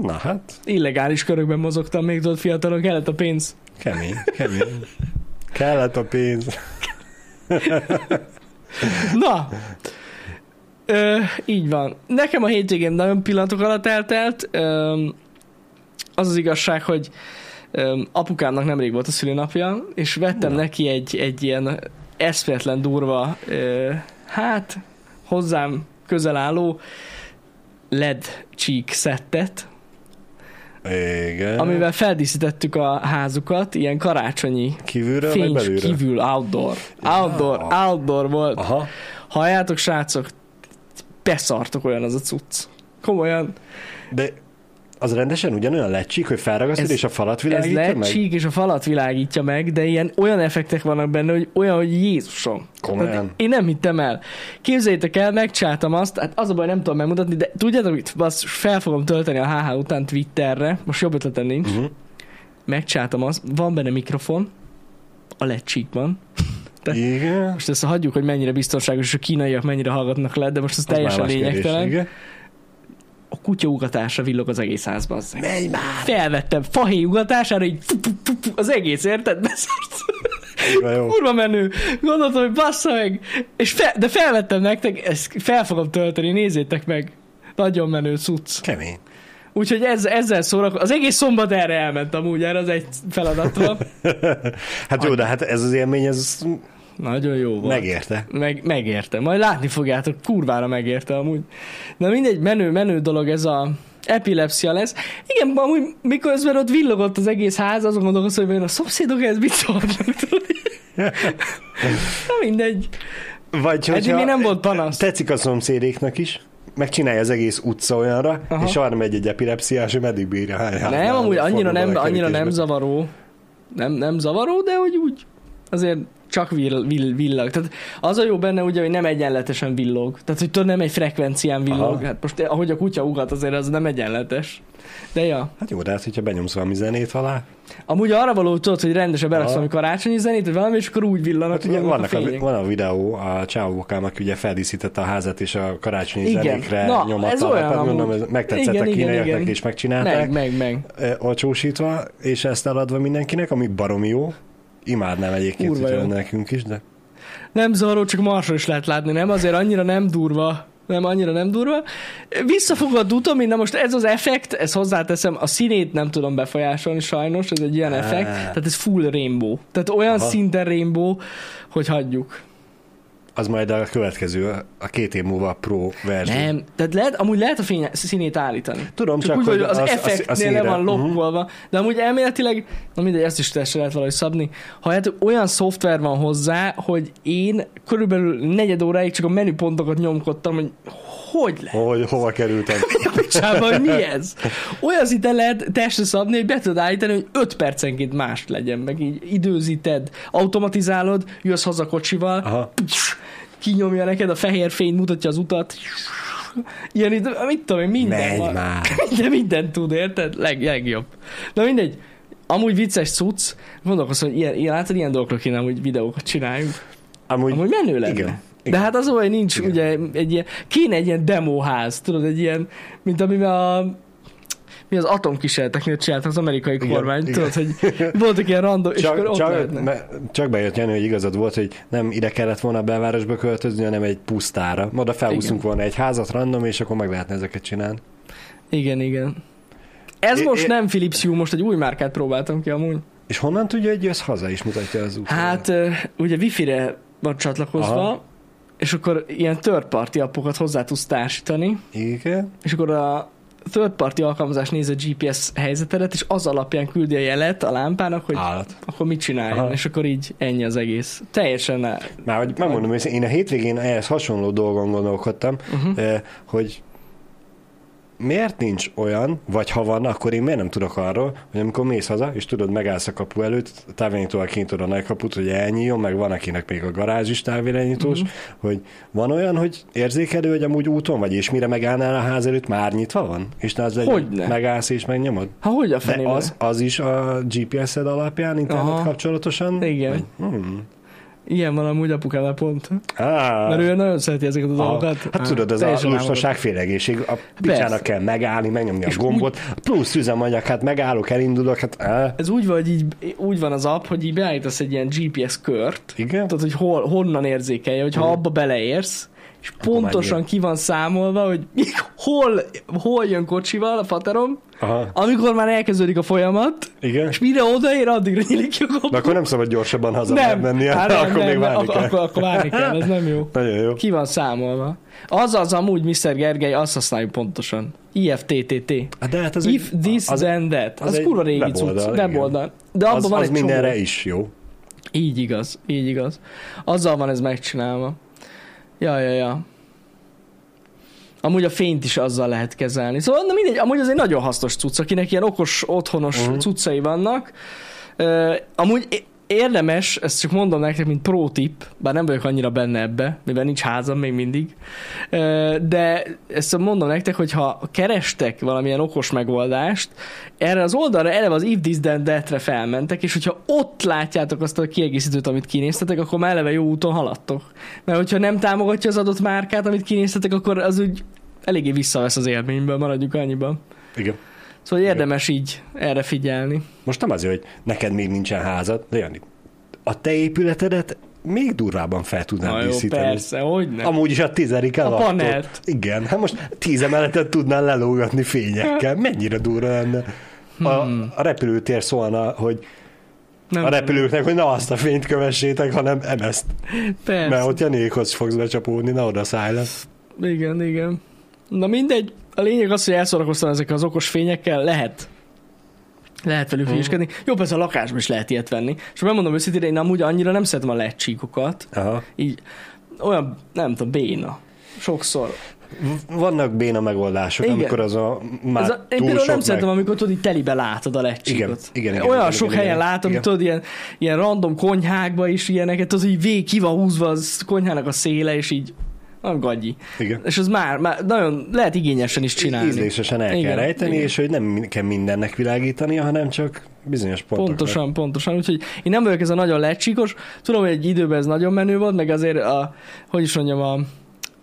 Speaker 2: Na hát,
Speaker 1: Illegális körökben mozogtam, még tudod fiatalon kellett a pénz.
Speaker 2: kemény, kemény. Kellett a pénz.
Speaker 1: Na! Ö, így van. Nekem a hétvégén nagyon pillanatok alatt eltelt. Ö, az az igazság, hogy ö, apukámnak nemrég volt a szülinapja, és vettem
Speaker 2: Na.
Speaker 1: neki egy, egy ilyen eszméletlen durva, ö, hát hozzám közel álló LED csík szettet,
Speaker 2: Igen.
Speaker 1: amivel feldíszítettük a házukat, ilyen karácsonyi
Speaker 2: Kívülről vagy
Speaker 1: fény
Speaker 2: belülről? Ah.
Speaker 1: kívül, outdoor. Outdoor, outdoor volt.
Speaker 2: Aha.
Speaker 1: Halljátok, srácok, beszartok olyan az a cucc. Komolyan,
Speaker 2: De az rendesen ugyanolyan lecsík, hogy felragasztod,
Speaker 1: Ez-
Speaker 2: és a falat
Speaker 1: ez
Speaker 2: világítja
Speaker 1: lehet
Speaker 2: meg?
Speaker 1: csík és a falat világítja meg, de ilyen olyan effektek vannak benne, hogy olyan, hogy Jézusom.
Speaker 2: Komolyan?
Speaker 1: Tehát Én nem hittem el. Képzeljétek el, megcsáltam azt, hát az a baj, nem tudom megmutatni, de tudjátok mit? Basz, fel fogom tölteni a HH után Twitterre, most jobb ötletem nincs.
Speaker 2: Mhm.
Speaker 1: Uh-huh. Megcsáltam azt, van benne mikrofon, a lecsík van. te-
Speaker 2: Igen.
Speaker 1: Most ezt hagyjuk, hogy mennyire biztonságos, és a kínaiak mennyire hallgatnak le, de most ez
Speaker 2: Az már
Speaker 1: teljesen
Speaker 2: más kérdés,
Speaker 1: lényegtelen.
Speaker 2: igen.
Speaker 1: a kutya ugatása villog az egész házba. Az.
Speaker 2: Menj már!
Speaker 1: Felvettem fahéj ugatására, így fu- fu- fu- fu- az egész, érted? Beszarsz.
Speaker 2: Kurva jó.
Speaker 1: Kurva menő. Gondoltam, hogy bassza meg. És fe, de felvettem nektek, ezt fel fogom tölteni, nézzétek meg. Nagyon menő cucc.
Speaker 2: Kemény.
Speaker 1: Úgyhogy ezzel, ezzel szórakozom. Az egész szombat erre elmentem úgy, erre az egy feladatra.
Speaker 2: Hát jó, de hát ez az élmény, ez
Speaker 1: Nagyon jó volt.
Speaker 2: megérte.
Speaker 1: Meg, megérte. Majd látni fogjátok, kurvára megérte amúgy. Na mindegy, menő, menő dolog ez a epilepsia lesz. Igen, amúgy miközben ott villogott az egész ház, azon gondolkoztam, hogy vajon a szomszédok ez mit szólnak, tudod? Na mindegy.
Speaker 2: Vagy
Speaker 1: Eddig még nem
Speaker 2: hogyha
Speaker 1: volt panasz.
Speaker 2: tetszik a szomszédéknak is, megcsinálja az egész utca olyanra,
Speaker 1: Aha.
Speaker 2: és arra megy egy epilepsziás, hogy meddig bírja. hány
Speaker 1: nem,
Speaker 2: háznál,
Speaker 1: amúgy annyira
Speaker 2: fordul
Speaker 1: nem,
Speaker 2: bele a
Speaker 1: annyira nem
Speaker 2: kerítésbe.
Speaker 1: zavaró. Nem, nem zavaró, de hogy úgy azért csak vill, vill, villag. Tehát az a jó benne ugye, hogy nem egyenletesen villog. Tehát, hogy tudod, nem egy frekvencián villog.
Speaker 2: Aha.
Speaker 1: Hát most ahogy a kutya ugat, azért az nem egyenletes. De ja.
Speaker 2: Hát jó, de hát, hogyha benyomsz valami zenét alá, Hát
Speaker 1: Amúgy arra való, tudod, hogy rendesen beraksz
Speaker 2: Aha.
Speaker 1: valami karácsonyi zenét, vagy valami, és akkor úgy villanak
Speaker 2: Hát ugye
Speaker 1: maguk
Speaker 2: vannak a,
Speaker 1: fények.
Speaker 2: van a videó a csávókám, aki ugye feldíszítette a házat, és a karácsonyi
Speaker 1: Igen.
Speaker 2: zenékre
Speaker 1: Na,
Speaker 2: nyomatta.
Speaker 1: ez olyan
Speaker 2: hát gondolom,
Speaker 1: amúgy.
Speaker 2: ez megtetszett
Speaker 1: Igen,
Speaker 2: a
Speaker 1: igen,
Speaker 2: kínaiaknak,
Speaker 1: igen.
Speaker 2: és megcsinálták,
Speaker 1: Meg, meg, meg.
Speaker 2: ö, olcsósítva, és ezt eladva mindenkinek, ami baromi jó. Imádnám egyébként,
Speaker 1: Kurva
Speaker 2: hogy
Speaker 1: jó.
Speaker 2: jön nekünk is, de
Speaker 1: Nem zavaró, csak marsra is lehet látni, nem? Azért annyira nem durva. Nem, annyira nem durva. Visszafogott utom, én na most ez az effekt, ez hozzáteszem, a színét nem tudom befolyásolni sajnos, ez egy ilyen
Speaker 2: Á.
Speaker 1: effekt, tehát ez full rainbow. Tehát olyan
Speaker 2: Aha.
Speaker 1: szinten rainbow, hogy hagyjuk.
Speaker 2: az majd a következő, a két év múlva a pro verzió.
Speaker 1: Nem, tehát lehet, amúgy lehet a fény, színét állítani.
Speaker 2: Tudom,
Speaker 1: Csak, csak úgy, hogy az, az effektnél le
Speaker 2: színre.
Speaker 1: van
Speaker 2: Mhm.
Speaker 1: lokkolva, uh-huh. de amúgy elméletileg, na mindegy, ezt is teljesen lehet valahogy szabni. Ha hát olyan szoftver van hozzá, hogy én körülbelül negyed óráig csak a menüpontokat nyomkodtam, hogy hogy lehet?
Speaker 2: Hogy hova kerültem.
Speaker 1: A picsába, hogy mi ez? Olyan szinten lehet testre szabni, hogy be tudod állítani, hogy 5 percenként más legyen, meg így időzíted, automatizálod, jössz haza kocsival,
Speaker 2: Aha.
Speaker 1: kinyomja neked a fehér fény, mutatja az utat. Ilyen, itt, mit tudom én, minden
Speaker 2: Menj
Speaker 1: van.
Speaker 2: már.
Speaker 1: Minden, mindent tud, érted? Leg, legjobb. Na mindegy, amúgy vicces cucc, gondolkozom, hogy ilyen, ilyen, látod, ilyen dolgokra kéne amúgy videókat csináljunk.
Speaker 2: Amúgy,
Speaker 1: Amúgy menő lenne.
Speaker 2: Igen.
Speaker 1: Igen.
Speaker 2: Igen.
Speaker 1: De hát az olyan nincs,
Speaker 2: Igen.
Speaker 1: Igen. ugye, egy ilyen, kéne egy ilyen demóház, tudod, egy ilyen, mint amiben a mi az atomkísérleteknél csinált az amerikai
Speaker 2: Igen,
Speaker 1: Igen, kormány,
Speaker 2: igen.
Speaker 1: Igen. tudod, hogy voltak ilyen random, és akkor
Speaker 2: Csak,
Speaker 1: ott
Speaker 2: csak,
Speaker 1: lehetne.
Speaker 2: me, csak bejött Jenő, hogy igazad volt, hogy nem ide kellett volna a belvárosba költözni, hanem egy pusztára. Oda felhúztunk volna egy házat random, és akkor meg lehetne ezeket csinálni.
Speaker 1: Igen, igen. Ez
Speaker 2: É-
Speaker 1: é, most
Speaker 2: é-
Speaker 1: nem Philips Hue, most egy új márkát próbáltam ki amúgy.
Speaker 2: És honnan tudja, hogy jössz haza, is mutatja az úton.
Speaker 1: Hát ö, ugye Wi-Fi-re van csatlakozva,
Speaker 2: Aha.
Speaker 1: Aha. és akkor ilyen third party appokat hozzá tudsz társítani,
Speaker 2: Igen?
Speaker 1: és akkor a third party alkalmazás nézi a GPS helyzetedet, és az alapján küldi a jelet a lámpának, hogy
Speaker 2: Állat.
Speaker 1: akkor mit csináljon,
Speaker 2: Aha.
Speaker 1: Aha. és akkor így ennyi az egész. Teljesen el.
Speaker 2: Már hogy megmondom, hogy én a hétvégén ehhez hasonló dolgon gondolkodtam,
Speaker 1: Uh-huh.
Speaker 2: eh, hogy miért nincs olyan, vagy ha van, akkor én miért nem tudok arról, hogy amikor mész haza, és tudod, megállsz a kapu előtt, távirányítóval kinyitod a nagy kaput, hogy elnyíljon, meg van, akinek még a garázs is távirányítós,
Speaker 1: Mhm.
Speaker 2: uh-huh. hogy van olyan, hogy érzékelő, hogy amúgy úton vagy, és mire megállnál a ház előtt, már nyitva van? És ne az legyen,
Speaker 1: Hogyne.
Speaker 2: megállsz és megnyomod?
Speaker 1: Ha hogy a
Speaker 2: De
Speaker 1: fenébe?
Speaker 2: az, az is a GPS-ed alapján, internet
Speaker 1: Aha.
Speaker 2: kapcsolatosan?
Speaker 1: Igen.
Speaker 2: Hmm.
Speaker 1: Ilyen van amúgy apukával pont.
Speaker 2: Á,
Speaker 1: Mert ő nagyon szereti ezeket a dolgokat.
Speaker 2: Hát tudod, ez a
Speaker 1: Teljesen álmodom.
Speaker 2: lustaság félregéség, a picsának kell megállni, megnyomni a gombot, plusz üzemanyag, hát megállok, elindulok, hát á,
Speaker 1: Ez úgy van, hogy így, úgy van az app, hogy így beállítasz egy ilyen GPS kört,
Speaker 2: igen.
Speaker 1: tudod, hogy hol, honnan érzékelje, hogyha ha abba beleérsz, és pontosan
Speaker 2: Mm. már
Speaker 1: ki van számolva, hogy hol, hol jön kocsival a faterom,
Speaker 2: Aha,
Speaker 1: amikor már elkezdődik a folyamat,
Speaker 2: igen.
Speaker 1: és mire odaér, addigra nyílik ki a
Speaker 2: De
Speaker 1: gombok.
Speaker 2: akkor nem szabad gyorsabban haza
Speaker 1: Nem,
Speaker 2: menni,
Speaker 1: hát nem,
Speaker 2: akkor
Speaker 1: nem,
Speaker 2: még
Speaker 1: nem,
Speaker 2: várni
Speaker 1: akkor,
Speaker 2: kell.
Speaker 1: akkor, akkor várni kell, ez nem jó.
Speaker 2: Nagyon jó.
Speaker 1: Ki van számolva. Azaz amúgy, Mr. Gergely, azt használjuk pontosan. IFTTT.
Speaker 2: Hát De hát ez
Speaker 1: If
Speaker 2: egy-
Speaker 1: this,
Speaker 2: az-
Speaker 1: then that.
Speaker 2: az
Speaker 1: Az,
Speaker 2: egy
Speaker 1: kurva régi
Speaker 2: weboldal,
Speaker 1: cucc,
Speaker 2: igen.
Speaker 1: weboldal. De abban
Speaker 2: az,
Speaker 1: van
Speaker 2: az
Speaker 1: egy csomó.
Speaker 2: mindenre is jó.
Speaker 1: Így igaz, így igaz. Azzal van ez megcsinálva. Ja, ja, ja. Amúgy a fényt is azzal lehet kezelni. Szóval, na mindegy, amúgy az egy nagyon hasznos cucc, akinek ilyen okos, otthonos uh-huh. cuccai vannak. Ö, amúgy é- érdemes, ezt csak mondom nektek, mint pro tip, bár nem vagyok annyira benne ebbe, mivel nincs házam még mindig, Ö, de ezt mondom nektek, hogy ha kerestek valamilyen okos megoldást, erre az oldalra eleve az If This Then That-re felmentek, és hogyha ott látjátok azt a kiegészítőt, amit kinéztetek, akkor már eleve jó úton haladtok. Mert hogyha nem támogatja az adott márkát, amit kinéztetek, akkor az úgy eléggé visszavesz az élményből, maradjuk annyiban.
Speaker 2: Igen.
Speaker 1: Szóval érdemes így erre figyelni.
Speaker 2: Most nem azért, hogy neked még nincsen házad, de Jani, a te épületedet még durvábban fel tudnád
Speaker 1: Na jó,
Speaker 2: díszíteni.
Speaker 1: persze, hogy nem.
Speaker 2: Amúgy is a tizedik alatt.
Speaker 1: panelt.
Speaker 2: Igen, hát most tíz emeletet tudnál lelógatni fényekkel. Mennyire durva lenne. A, a repülőtér szólna, hogy
Speaker 1: Hmm. nem,
Speaker 2: a repülőknek, hogy ne azt a fényt kövessétek, hanem emezt.
Speaker 1: persze.
Speaker 2: Mert ott Janékhoz fogsz becsapódni, ne oda szállj le.
Speaker 1: Igen, igen. Na mindegy, a lényeg az, hogy elszórakoztam ezekkel az okos fényekkel, lehet. Lehet
Speaker 2: Mhm.
Speaker 1: velük hülyeskedni. Jó, persze a lakásban is lehet ilyet venni. És megmondom őszintén, én amúgy annyira nem szeretem a LED csíkokat.
Speaker 2: Aha.
Speaker 1: Így olyan, nem tudom, béna. Sokszor.
Speaker 2: V- Vannak béna megoldások,
Speaker 1: Igen.
Speaker 2: amikor az a már
Speaker 1: Ez
Speaker 2: Ez
Speaker 1: a, én például
Speaker 2: sok
Speaker 1: nem
Speaker 2: meg...
Speaker 1: szeretem, amikor tudod, így telibe látod a lecsikot.
Speaker 2: Igen, igen, igen,
Speaker 1: Olyan
Speaker 2: igen,
Speaker 1: sok
Speaker 2: igen,
Speaker 1: helyen
Speaker 2: igen.
Speaker 1: látom,
Speaker 2: Igen.
Speaker 1: tudod, ilyen, ilyen random konyhákba is ilyeneket, az így végig ki van húzva az konyhának a széle, és így nem gagyi.
Speaker 2: Igen.
Speaker 1: És az már, már nagyon lehet igényesen is csinálni.
Speaker 2: Ízlésesen el
Speaker 1: Igen,
Speaker 2: kell rejteni,
Speaker 1: igen.
Speaker 2: és hogy nem min- kell mindennek világítania, hanem csak bizonyos pontokra.
Speaker 1: Pontosan, pontosan. Úgyhogy én nem vagyok ez a nagyon lecsíkos. Tudom, hogy egy időben ez nagyon menő volt, meg azért a, hogy is mondjam, a,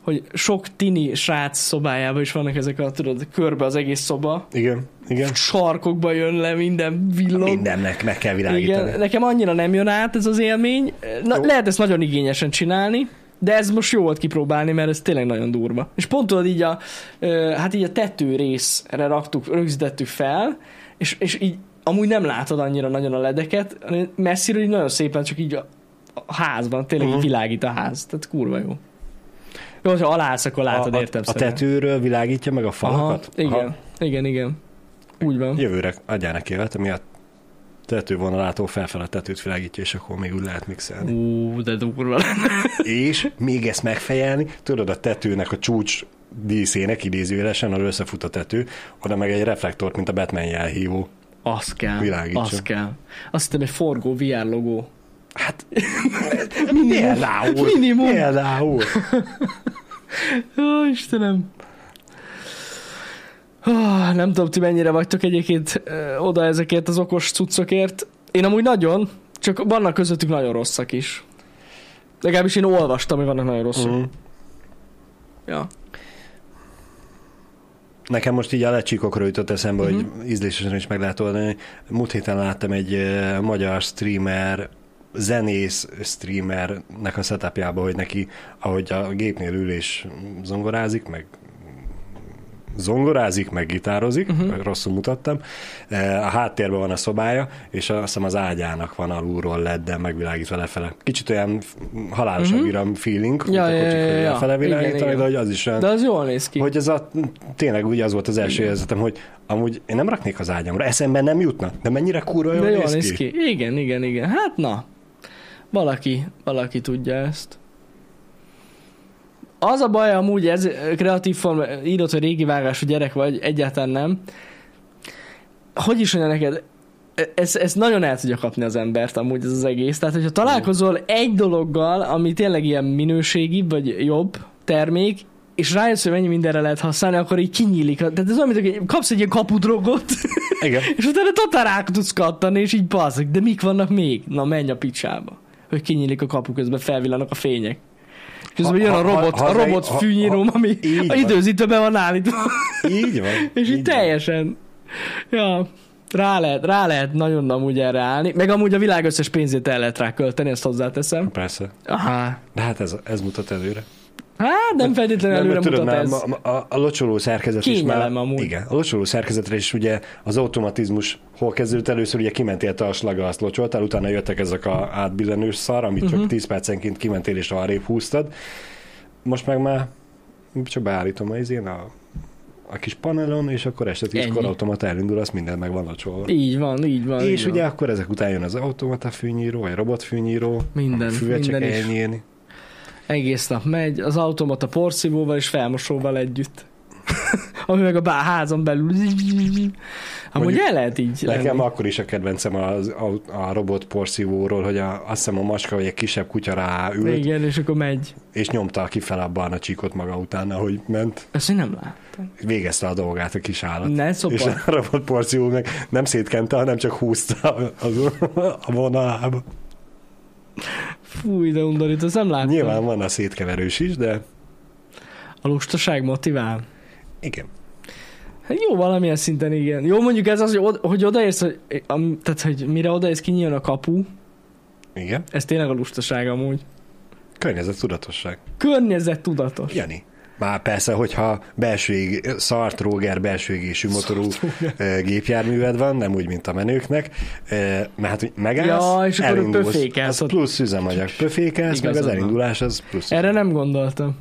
Speaker 1: hogy sok tini srác szobájában is vannak ezek a, tudod, körbe az egész szoba.
Speaker 2: Igen, igen.
Speaker 1: Sarkokba jön le minden villog.
Speaker 2: Mindennek meg kell világítani.
Speaker 1: Igen,
Speaker 2: Igen.
Speaker 1: nekem annyira nem jön át ez az élmény. Na,
Speaker 2: Jó.
Speaker 1: lehet ezt nagyon igényesen csinálni, de ez most jó volt kipróbálni, mert ez tényleg nagyon durva. És pont tudod így a, ö, hát így a tető részre raktuk, rögzítettük fel, és, és így amúgy nem látod annyira nagyon a ledeket, hanem messziről így nagyon szépen csak így a, a házban, tényleg uh-huh.
Speaker 2: Mhm.
Speaker 1: világít a ház. Tehát kurva jó. Jó, hogyha alász, akkor látod
Speaker 2: a, a, a
Speaker 1: értelmszerűen.
Speaker 2: tetőről világítja meg a
Speaker 1: Aha,
Speaker 2: falakat?
Speaker 1: igen, igen, igen. Úgy van.
Speaker 2: Jövőre adjál neki évet, ami a tetővonalától felfele a tetőt világítja, és akkor még úgy lehet mixelni.
Speaker 1: Ú, de durva.
Speaker 2: és még ezt megfejelni, tudod, a tetőnek a csúcs díszének idézőjelesen, ahol összefut a tető, oda meg egy reflektort, mint a Batman jelhívó.
Speaker 1: Az kell.
Speaker 2: Világítson.
Speaker 1: Az kell. Azt hittem egy forgó VR logó.
Speaker 2: Hát,
Speaker 1: Minimum.
Speaker 2: például,
Speaker 1: Minimum.
Speaker 2: például.
Speaker 1: Ó, Istenem. Ah, Nem tudom, ti mennyire vagytok egyébként ö, oda ezekért az okos cuccokért. Én amúgy nagyon, csak vannak közöttük nagyon rosszak is. Legalábbis én olvastam, hogy vannak nagyon rosszak.
Speaker 2: Mhm.
Speaker 1: Ja.
Speaker 2: Nekem most így a lecsíkokra jutott eszembe, hogy
Speaker 1: Mhm.
Speaker 2: ízlésesen is meg lehet oldani. Múlt héten láttam egy eh, magyar streamer, zenész streamernek a setupjába, hogy neki, ahogy a gépnél ül és zongorázik, meg zongorázik, meg gitározik,
Speaker 1: Mhm.
Speaker 2: uh-huh. rosszul mutattam. Eh, A háttérben van a szobája, és azt hiszem az ágyának van alulról leddel megvilágítva lefele. Kicsit olyan f- halálosabb uh-huh. iram feeling, mint
Speaker 1: Mhm. Ja,
Speaker 2: a
Speaker 1: ja,
Speaker 2: kocsikról
Speaker 1: ja, ja.
Speaker 2: lefele
Speaker 1: Igen,
Speaker 2: világítani,
Speaker 1: igen.
Speaker 2: de hogy az is olyan
Speaker 1: De az jól néz ki.
Speaker 2: hogy ez a, tényleg ugye az volt az első érzetem, hogy amúgy én nem raknék az ágyamra, eszembe nem jutna, de mennyire kurva jól,
Speaker 1: De jól
Speaker 2: néz, ki.
Speaker 1: Igen, igen, igen. Hát na, valaki, valaki tudja ezt. Az a baj amúgy, ez ö, kreatív form, írott, hogy régi vágású gyerek vagy, egyáltalán nem. Hogy is mondja neked, e- ez, ez nagyon el tudja kapni az embert amúgy ez az egész. Tehát, hogyha találkozol egy dologgal, ami tényleg ilyen minőségibb, vagy jobb termék, és rájössz, hogy mennyi mindenre lehet használni, akkor így kinyílik. a- Tehát ez olyan, mint hogy kapsz egy ilyen kapudrogot,
Speaker 2: Igen.
Speaker 1: és utána totál rá tudsz kattani, és így bazzik, de mik vannak még? Na menj a picsába. hogy kinyílik a kapu, közben felvillanak a fények. Közben jön a robot, a robot fűnyíróm, ami
Speaker 2: így
Speaker 1: a
Speaker 2: van.
Speaker 1: időzítve be van állítva.
Speaker 2: Így van.
Speaker 1: És így
Speaker 2: így van.
Speaker 1: teljesen. Ja, rá lehet, rá lehet nagyon amúgy erre állni. Meg amúgy a világ összes pénzét el lehet rá költeni, ezt hozzáteszem.
Speaker 2: Persze.
Speaker 1: Aha.
Speaker 2: De hát ez, ez mutat előre.
Speaker 1: Hát nem feltétlenül
Speaker 2: Nem,
Speaker 1: előre
Speaker 2: mert
Speaker 1: mutat
Speaker 2: tudod, már
Speaker 1: ez.
Speaker 2: ma- ma- a, a locsoló szerkezet is
Speaker 1: Kényelem
Speaker 2: már...
Speaker 1: amúgy.
Speaker 2: Igen, a locsoló szerkezetre is ugye az automatizmus hol kezdődött először, ugye kimentél te a slaga, azt locsoltál, utána jöttek ezek a átbillenős szar, amit
Speaker 1: Mhm.
Speaker 2: uh-huh. csak 10 percenként kimentél és arrébb húztad. Most meg már csak beállítom az én a, a kis panelon, és akkor este tízkor
Speaker 1: Ennyi.
Speaker 2: automata elindul, azt minden meg van locsolva.
Speaker 1: Így van, így van.
Speaker 2: És
Speaker 1: így
Speaker 2: ugye
Speaker 1: van.
Speaker 2: akkor ezek után jön az automata fűnyíró, vagy robot fűnyíró,
Speaker 1: Minden,
Speaker 2: füvet csak
Speaker 1: minden is.
Speaker 2: kell nyírni.
Speaker 1: Egész nap megy, az automata porszívóval és felmosóval együtt. Ami meg a bá- házon belül. Amúgy
Speaker 2: Mondjuk
Speaker 1: el lehet így
Speaker 2: Nekem
Speaker 1: lenni.
Speaker 2: akkor is a kedvencem az, a, a robot porszívóról, hogy a, azt hiszem a maska vagy egy kisebb kutya ráült, Igen.
Speaker 1: Igen, és akkor megy.
Speaker 2: és nyomta ki fel a barna csíkot maga után, ahogy ment.
Speaker 1: Ezt én nem láttam.
Speaker 2: Végezte a dolgát a kis állat.
Speaker 1: Ne
Speaker 2: és
Speaker 1: szopar.
Speaker 2: a robot porszívó meg nem szétkente, hanem csak húzta az, a vonalába.
Speaker 1: Fúj, de undorít, ezt Hát, nem láttam.
Speaker 2: Nyilván van a szétkeverős is, de
Speaker 1: A lustaság motivál.
Speaker 2: igen.
Speaker 1: Hát jó, valamilyen szinten igen. Jó, mondjuk ez az, hogy, od- hogy odaérsz, hogy, am- tehát, hogy mire odaérsz, kinyíljon a kapu,
Speaker 2: Igen.
Speaker 1: ez tényleg a lustaság amúgy.
Speaker 2: Környezet tudatosság.
Speaker 1: Környezet tudatos.
Speaker 2: Jani. Már persze, hogyha belső ég, szart Róger belső égésű motorú ö, gépjárműved van, nem úgy, mint a menőknek, ö, mert hát hogy megállsz,
Speaker 1: Ja, és akkor
Speaker 2: elindulsz.
Speaker 1: pöfékelsz
Speaker 2: Az
Speaker 1: ott.
Speaker 2: plusz üzemanyag. Pöfékelsz, meg az
Speaker 1: Igazad van.
Speaker 2: elindulás az plusz
Speaker 1: Erre nem gondoltam.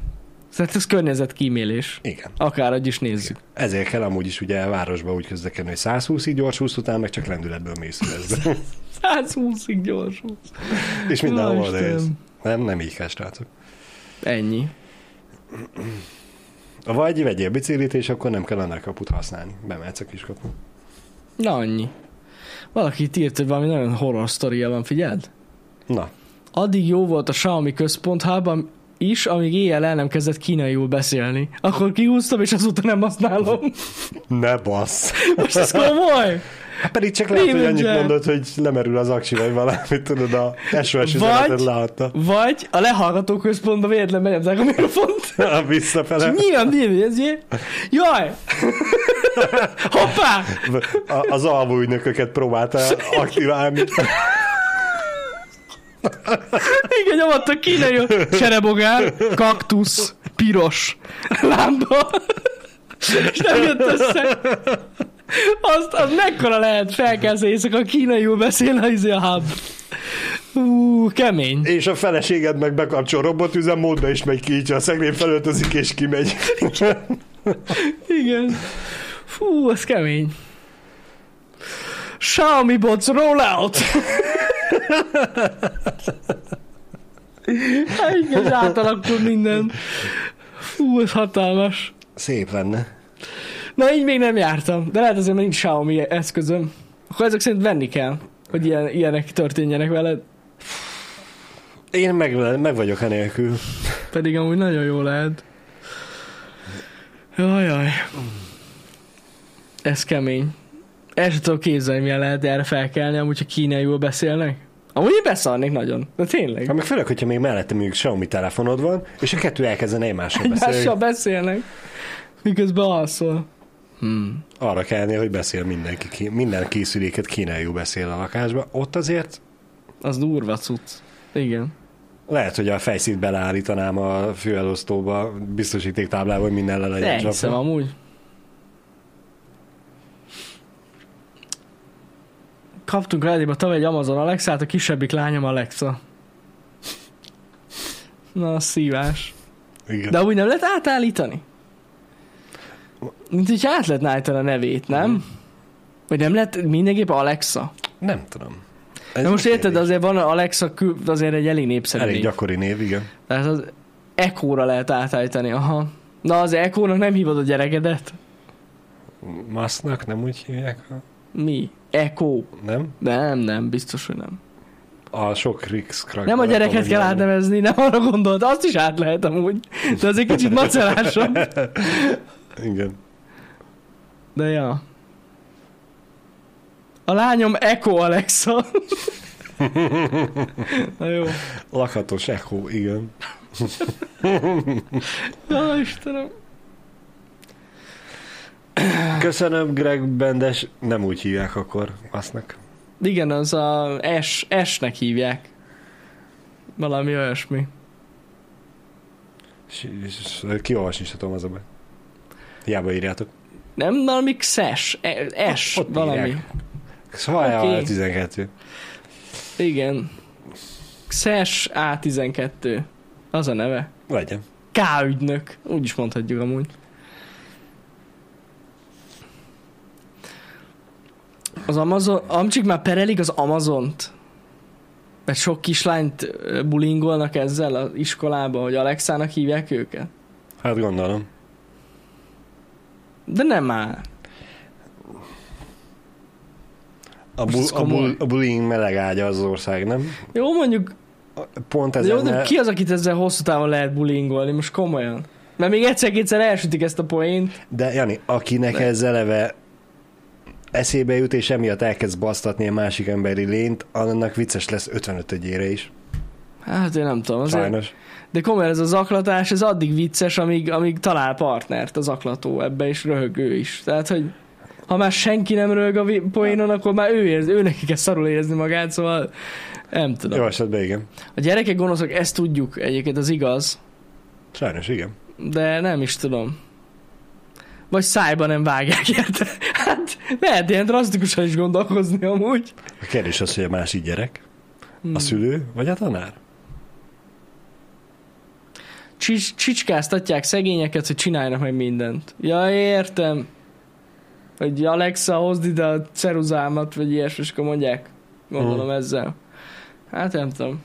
Speaker 1: Tehát ez környezet kímélés.
Speaker 2: üzemanyag. Igen.
Speaker 1: Akárhogy is nézzük.
Speaker 2: Ezért kell amúgy is ugye a városba úgy közlekedni, hogy 120-ig gyors húsz után meg csak lendületből mész közben.
Speaker 1: 120-ig gyorsul.
Speaker 2: És
Speaker 1: Na,
Speaker 2: mindenhol
Speaker 1: Istenem.
Speaker 2: odaérsz. Nem, nem így kell, srácok.
Speaker 1: Ennyi.
Speaker 2: Vagy vegyél biciklit, és akkor nem kell ennek kaput használni. Bemehetsz a kiskapun.
Speaker 1: Na annyi. Valaki itt írt, hogy valami nagyon horror sztoria van, figyeld?
Speaker 2: Na,
Speaker 1: Addig jó volt a Xiaomi központ hubban is, amíg éjjel el nem kezdett kínaiul beszélni. Akkor kihúztam, és azóta nem használom.
Speaker 2: ne bassz!
Speaker 1: Most ez komoly!
Speaker 2: Hát pedig csak lehet, hogy
Speaker 1: Raymond
Speaker 2: annyit
Speaker 1: James.
Speaker 2: mondod, hogy lemerül az aksi, vagy valami, tudod, a SOS üzenetet
Speaker 1: Vagy-
Speaker 2: látta.
Speaker 1: Vagy a lehallgató központba véletlen benyomták a mikrofont.
Speaker 2: A Visszafele.
Speaker 1: Nyilván, nyilván, ez ilyen. Jaj! Hoppá!
Speaker 2: A, az alvó ügynököket próbálta aktiválni.
Speaker 1: Igen, nyomadtak kínai cserebogár, kaktusz, piros lámpa. És nem jött össze. Azt, az mekkora lehet felkelsz éjszaka, kínaiul beszél a izé a hub. Ú, kemény.
Speaker 2: És a feleséged meg bekapcsol robotüzemmódba, és megy ki, így a szegrén felöltözik, és kimegy.
Speaker 1: Igen. Fú, ez kemény. Xiaomi bots roll out! Hát igen, és átalakul minden. Fú, ez hatalmas.
Speaker 2: Szép lenne.
Speaker 1: Na, így még nem jártam, de lehet azért, mert nincs Xiaomi eszközöm. Akkor ezek szerint venni kell, hogy ilyen, ilyenek történjenek veled.
Speaker 2: Én meg, meg vagyok enélkül.
Speaker 1: Pedig amúgy nagyon jó lehet. Jaj, jaj. Ez kemény. El sem tudom képzelni, milyen lehet erre felkelni, amúgy, ha kínaiul beszélnek. Amúgy én beszarnék nagyon. De
Speaker 2: Hát
Speaker 1: tényleg.
Speaker 2: meg főleg, hogyha még mellette mondjuk Xiaomi telefonod van, és a kettő elkezdene egymással
Speaker 1: Egymással
Speaker 2: beszélni.
Speaker 1: beszélnek. Miközben alszol. Hmm.
Speaker 2: Arra kellene, hogy beszél mindenki. ki- Minden készüléket kínaiul beszél a lakásba. Ott azért
Speaker 1: Az durva cucc. Igen.
Speaker 2: Lehet, hogy a fejszít beleállítanám a főelosztóba, biztosíték táblába, hogy minden le
Speaker 1: De
Speaker 2: legyen
Speaker 1: hiszem,
Speaker 2: csapva.
Speaker 1: amúgy. Kaptunk rádióba tavaly egy Amazon Alexát, a kisebbik lányom Alexa. Na, szívás.
Speaker 2: Igen.
Speaker 1: De úgy nem lehet átállítani? Mint hogyha át lehetne állítani a nevét,
Speaker 2: Mhm.
Speaker 1: nem? Vagy nem lehet mindenképp Alexa?
Speaker 2: Nem tudom. Ez
Speaker 1: Na most
Speaker 2: elég-
Speaker 1: érted, azért van Alexa, kül- azért egy elég népszerű
Speaker 2: Elég
Speaker 1: név.
Speaker 2: gyakori név, igen.
Speaker 1: Tehát az Echo-ra lehet átállítani, aha. Na, az Echo-nak nem hívod a gyerekedet?
Speaker 2: Masznak nem úgy hívják, ha-
Speaker 1: Mi? Echo.
Speaker 2: nem?
Speaker 1: Nem, nem, biztos, hogy nem.
Speaker 2: A sok rix
Speaker 1: Nem a gyereket kell átnevezni, nem arra gondolt, azt is át lehet amúgy, de az egy kicsit macerásabb.
Speaker 2: Igen.
Speaker 1: De ja. A lányom Echo Alexa. Na jó.
Speaker 2: Lakhatos echo, igen.
Speaker 1: Ó, Istenem.
Speaker 2: Köszönöm, Greg Bendes. Nem úgy hívják akkor aznak.
Speaker 1: Igen, az a S, S-nek hívják. Valami olyasmi.
Speaker 2: S- s- s- Kiolvasni se tudom az a baj. Hiába írjátok.
Speaker 1: Nem valami XES, e- S,
Speaker 2: Ott
Speaker 1: valami.
Speaker 2: írják. Szóval
Speaker 1: Oké.
Speaker 2: okay. 12.
Speaker 1: Igen. XES A12. Az a neve.
Speaker 2: Legyen.
Speaker 1: K ügynök. Úgy is mondhatjuk amúgy. Az Amazon, amcsik már perelik az Amazont. Mert sok kislányt ö, bulingolnak ezzel az iskolába, hogy Alexának hívják őket.
Speaker 2: Hát gondolom.
Speaker 1: De nem már.
Speaker 2: A,
Speaker 1: Ez
Speaker 2: bu- a,
Speaker 1: komoly.
Speaker 2: bu- a bullying meleg ágya az ország, nem?
Speaker 1: Jó, mondjuk,
Speaker 2: Pont ez
Speaker 1: jó, de ki az, akit ezzel hosszú távon lehet bulingolni, most komolyan? Mert még egyszer-kétszer elsütik ezt a poént.
Speaker 2: De Jani, akinek
Speaker 1: Ne.
Speaker 2: ez eleve eszébe jut, és emiatt elkezd basztatni a másik emberi lényt, annak vicces lesz 55 egyére is.
Speaker 1: Hát én nem tudom, azért
Speaker 2: Sajnos.
Speaker 1: De komolyan ez a zaklatás, ez addig vicces, amíg, amíg talál partnert a zaklató ebbe, és röhög ő is. Tehát, hogy ha már senki nem röhög a vi- poénon, akkor már ő, érz, ő neki kell szarul érezni magát, szóval nem tudom.
Speaker 2: Jó esetben igen.
Speaker 1: A gyerekek gonoszok, ezt tudjuk egyébként, az igaz,
Speaker 2: Sajnos igen.
Speaker 1: de nem is tudom. Vagy szájba nem vágják, érte? Hát lehet ilyen drasztikusan is gondolkozni amúgy.
Speaker 2: A kérdés az, hogy a másik gyerek,
Speaker 1: Hmm.
Speaker 2: a szülő vagy a tanár?
Speaker 1: Csics- csicskáztatják szegényeket, hogy csináljanak meg mindent. Ja, értem. Hogy Alexa, hozd ide a ceruzámat, vagy ilyesmi, és akkor mondják. Gondolom
Speaker 2: Mhm.
Speaker 1: ezzel. Hát nem tudom.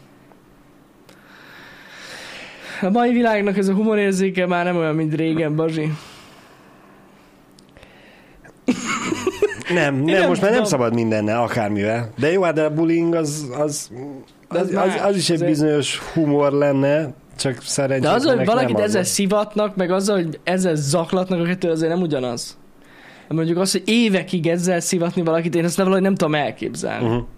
Speaker 1: A mai világnak ez a humorérzéke már nem olyan, mint régen, Bazsi.
Speaker 2: Nem, nem,
Speaker 1: nem
Speaker 2: nem most már
Speaker 1: tudom.
Speaker 2: nem szabad mindennel, akármivel. De jó, hát de a bullying az, az,
Speaker 1: De az
Speaker 2: az, az, az is
Speaker 1: más,
Speaker 2: egy
Speaker 1: az-
Speaker 2: bizonyos humor lenne, csak
Speaker 1: De
Speaker 2: szerencsétlenek
Speaker 1: az, hogy valakit
Speaker 2: nem az.
Speaker 1: ezzel szivatnak, meg az, hogy ezzel zaklatnak, a kettő azért nem ugyanaz. Mondjuk az, hogy évekig ezzel szivatni valakit, én ezt nem valahogy nem tudom elképzelni. Uh-huh.
Speaker 2: Uh-huh.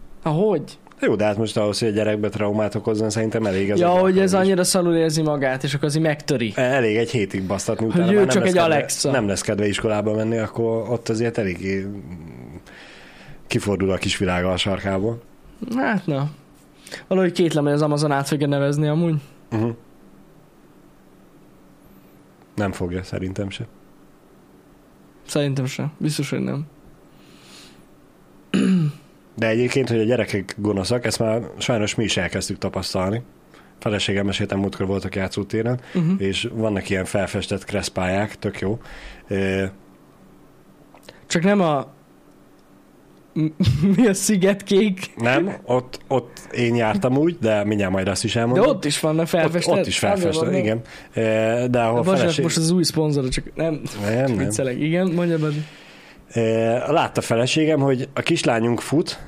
Speaker 1: Ahogy?
Speaker 2: Jó, de hát most ahhoz, hogy a gyerekbe traumát okozzon, szerintem elég ez.
Speaker 1: ja,
Speaker 2: egy
Speaker 1: hogy ez
Speaker 2: alkalom is.
Speaker 1: annyira szalul érzi magát, és akkor azért megtöri.
Speaker 2: Elég egy hétig basztatni, utána
Speaker 1: ő
Speaker 2: már
Speaker 1: csak
Speaker 2: lesz
Speaker 1: egy
Speaker 2: kedve,
Speaker 1: Alexa.
Speaker 2: Nem lesz kedve iskolába menni, akkor ott azért eléggé mm, kifordul a kisvilága a sarkából.
Speaker 1: Hát na. Valahogy kétlem, hogy az Amazon át fogja nevezni amúgy.
Speaker 2: Uh-huh. Nem fogja, szerintem se.
Speaker 1: Szerintem sem. Biztos, hogy nem.
Speaker 2: De egyébként, hogy a gyerekek gonoszak, ezt már sajnos mi is elkezdtük tapasztalni. Feleségem meséltem, múltkor voltak játszótéren,
Speaker 1: Uh-huh.
Speaker 2: és vannak ilyen felfestett kreszpályák, tök jó. Ö,
Speaker 1: Csak nem a... Mi a szigetkék?
Speaker 2: Nem, ott, ott én jártam úgy, de mindjárt majd azt is
Speaker 1: De
Speaker 2: elmondom.
Speaker 1: ott is vannak felfestett.
Speaker 2: Ott, ott is felfestett,
Speaker 1: Vannak.
Speaker 2: igen. Ö, De ahol
Speaker 1: Bocsánat,
Speaker 2: feleség...
Speaker 1: most az új szponzor, csak nem,
Speaker 2: Nem, nem.
Speaker 1: viccelek. Igen, mondja be.
Speaker 2: Ö, Látta feleségem, hogy a kislányunk fut,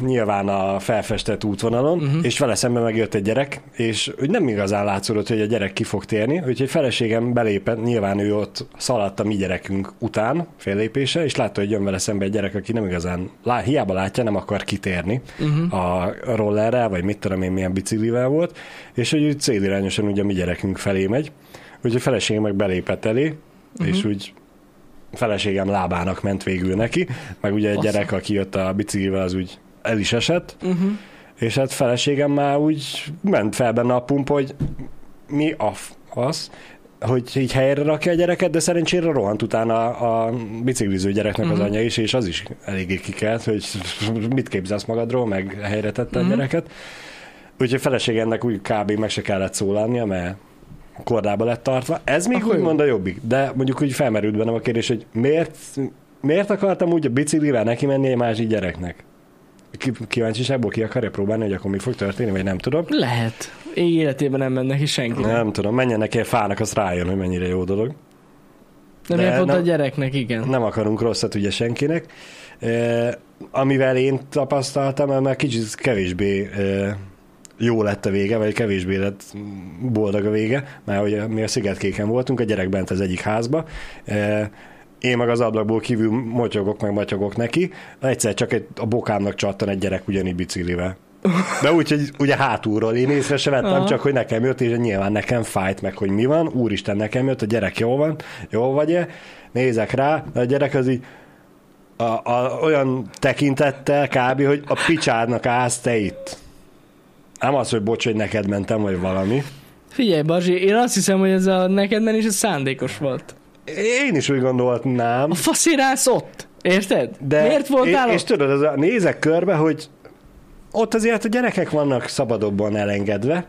Speaker 2: nyilván a felfestett útvonalon,
Speaker 1: Mhm.
Speaker 2: uh-huh. és vele szembe megjött egy gyerek, és úgy nem igazán látszódott, hogy a gyerek ki fog térni, úgyhogy feleségem belépett, nyilván ő ott szaladt a mi gyerekünk után, fél lépése, és látta, hogy jön vele szembe egy gyerek, aki nem igazán, lá, hiába látja, nem akar kitérni
Speaker 1: Uh-huh.
Speaker 2: a rollerrel, vagy mit tudom én, milyen biciklivel volt, és hogy úgy célirányosan ugye a mi gyerekünk felé megy, úgyhogy a feleségem meg belépett elé, uh-huh. és úgy feleségem lábának ment végül neki, meg ugye egy
Speaker 1: Bassza.
Speaker 2: gyerek, aki jött a biciklivel, az úgy el is esett,
Speaker 1: Uh-huh.
Speaker 2: és hát feleségem már úgy ment fel benne a pump, hogy mi a f- az, hogy így helyre rakja a gyereket, de szerencsére rohant utána a, a bicikliző gyereknek uh-huh.
Speaker 1: Mhm.
Speaker 2: az anyja is, és az is eléggé kikelt, hogy mit képzelsz magadról, meg helyre tette uh-huh.
Speaker 1: Mhm.
Speaker 2: a gyereket. Úgyhogy feleségemnek úgy kb. meg se kellett szólalnia, mert kordába lett tartva. Ez még
Speaker 1: Akkor jó.
Speaker 2: úgymond a jobbik, de mondjuk úgy felmerült bennem a kérdés, hogy miért, miért akartam úgy a biciklivel neki menni egy másik gyereknek? Ki, kíváncsiságból ki akarja próbálni, hogy akkor mi fog történni, vagy nem tudom.
Speaker 1: Lehet. Én életében nem mennek ki senki. Nem,
Speaker 2: Nem tudom, menjen neki egy fának, az rájön, hogy mennyire jó dolog.
Speaker 1: nem
Speaker 2: de
Speaker 1: ért oda
Speaker 2: nem-
Speaker 1: a gyereknek, igen.
Speaker 2: Nem akarunk rosszat ugye senkinek. E, amivel én tapasztaltam, már kicsit kevésbé e, jó lett a vége, vagy kevésbé lett mm, boldog a vége, mert ugye mi a Szigetkéken voltunk, a gyerek bent az egyik házba, e, én meg az ablakból kívül motyogok, meg motyogok neki, egyszer csak egy, a bokámnak csattan egy gyerek ugyanígy biciklivel. De úgy, hogy ugye hátulról én észre se vettem,
Speaker 1: Aha.
Speaker 2: csak hogy nekem jött, és nyilván nekem fájt meg, hogy mi van. Úristen, nekem jött, a gyerek jól van, jól vagy-e? Nézek rá, de a gyerek az így a, a, olyan tekintettel kb, hogy a picsádnak állsz te itt. Nem az, hogy bocs, hogy neked mentem, vagy valami.
Speaker 1: Figyelj, Barzsi, én azt hiszem, hogy ez a neked nem is ez szándékos volt.
Speaker 2: Én is úgy gondolnám.
Speaker 1: A faszért állsz ott. Érted?
Speaker 2: De
Speaker 1: Miért voltál
Speaker 2: és,
Speaker 1: ott?
Speaker 2: és tudod, az a, nézek körbe, hogy ott azért a gyerekek vannak szabadobban elengedve,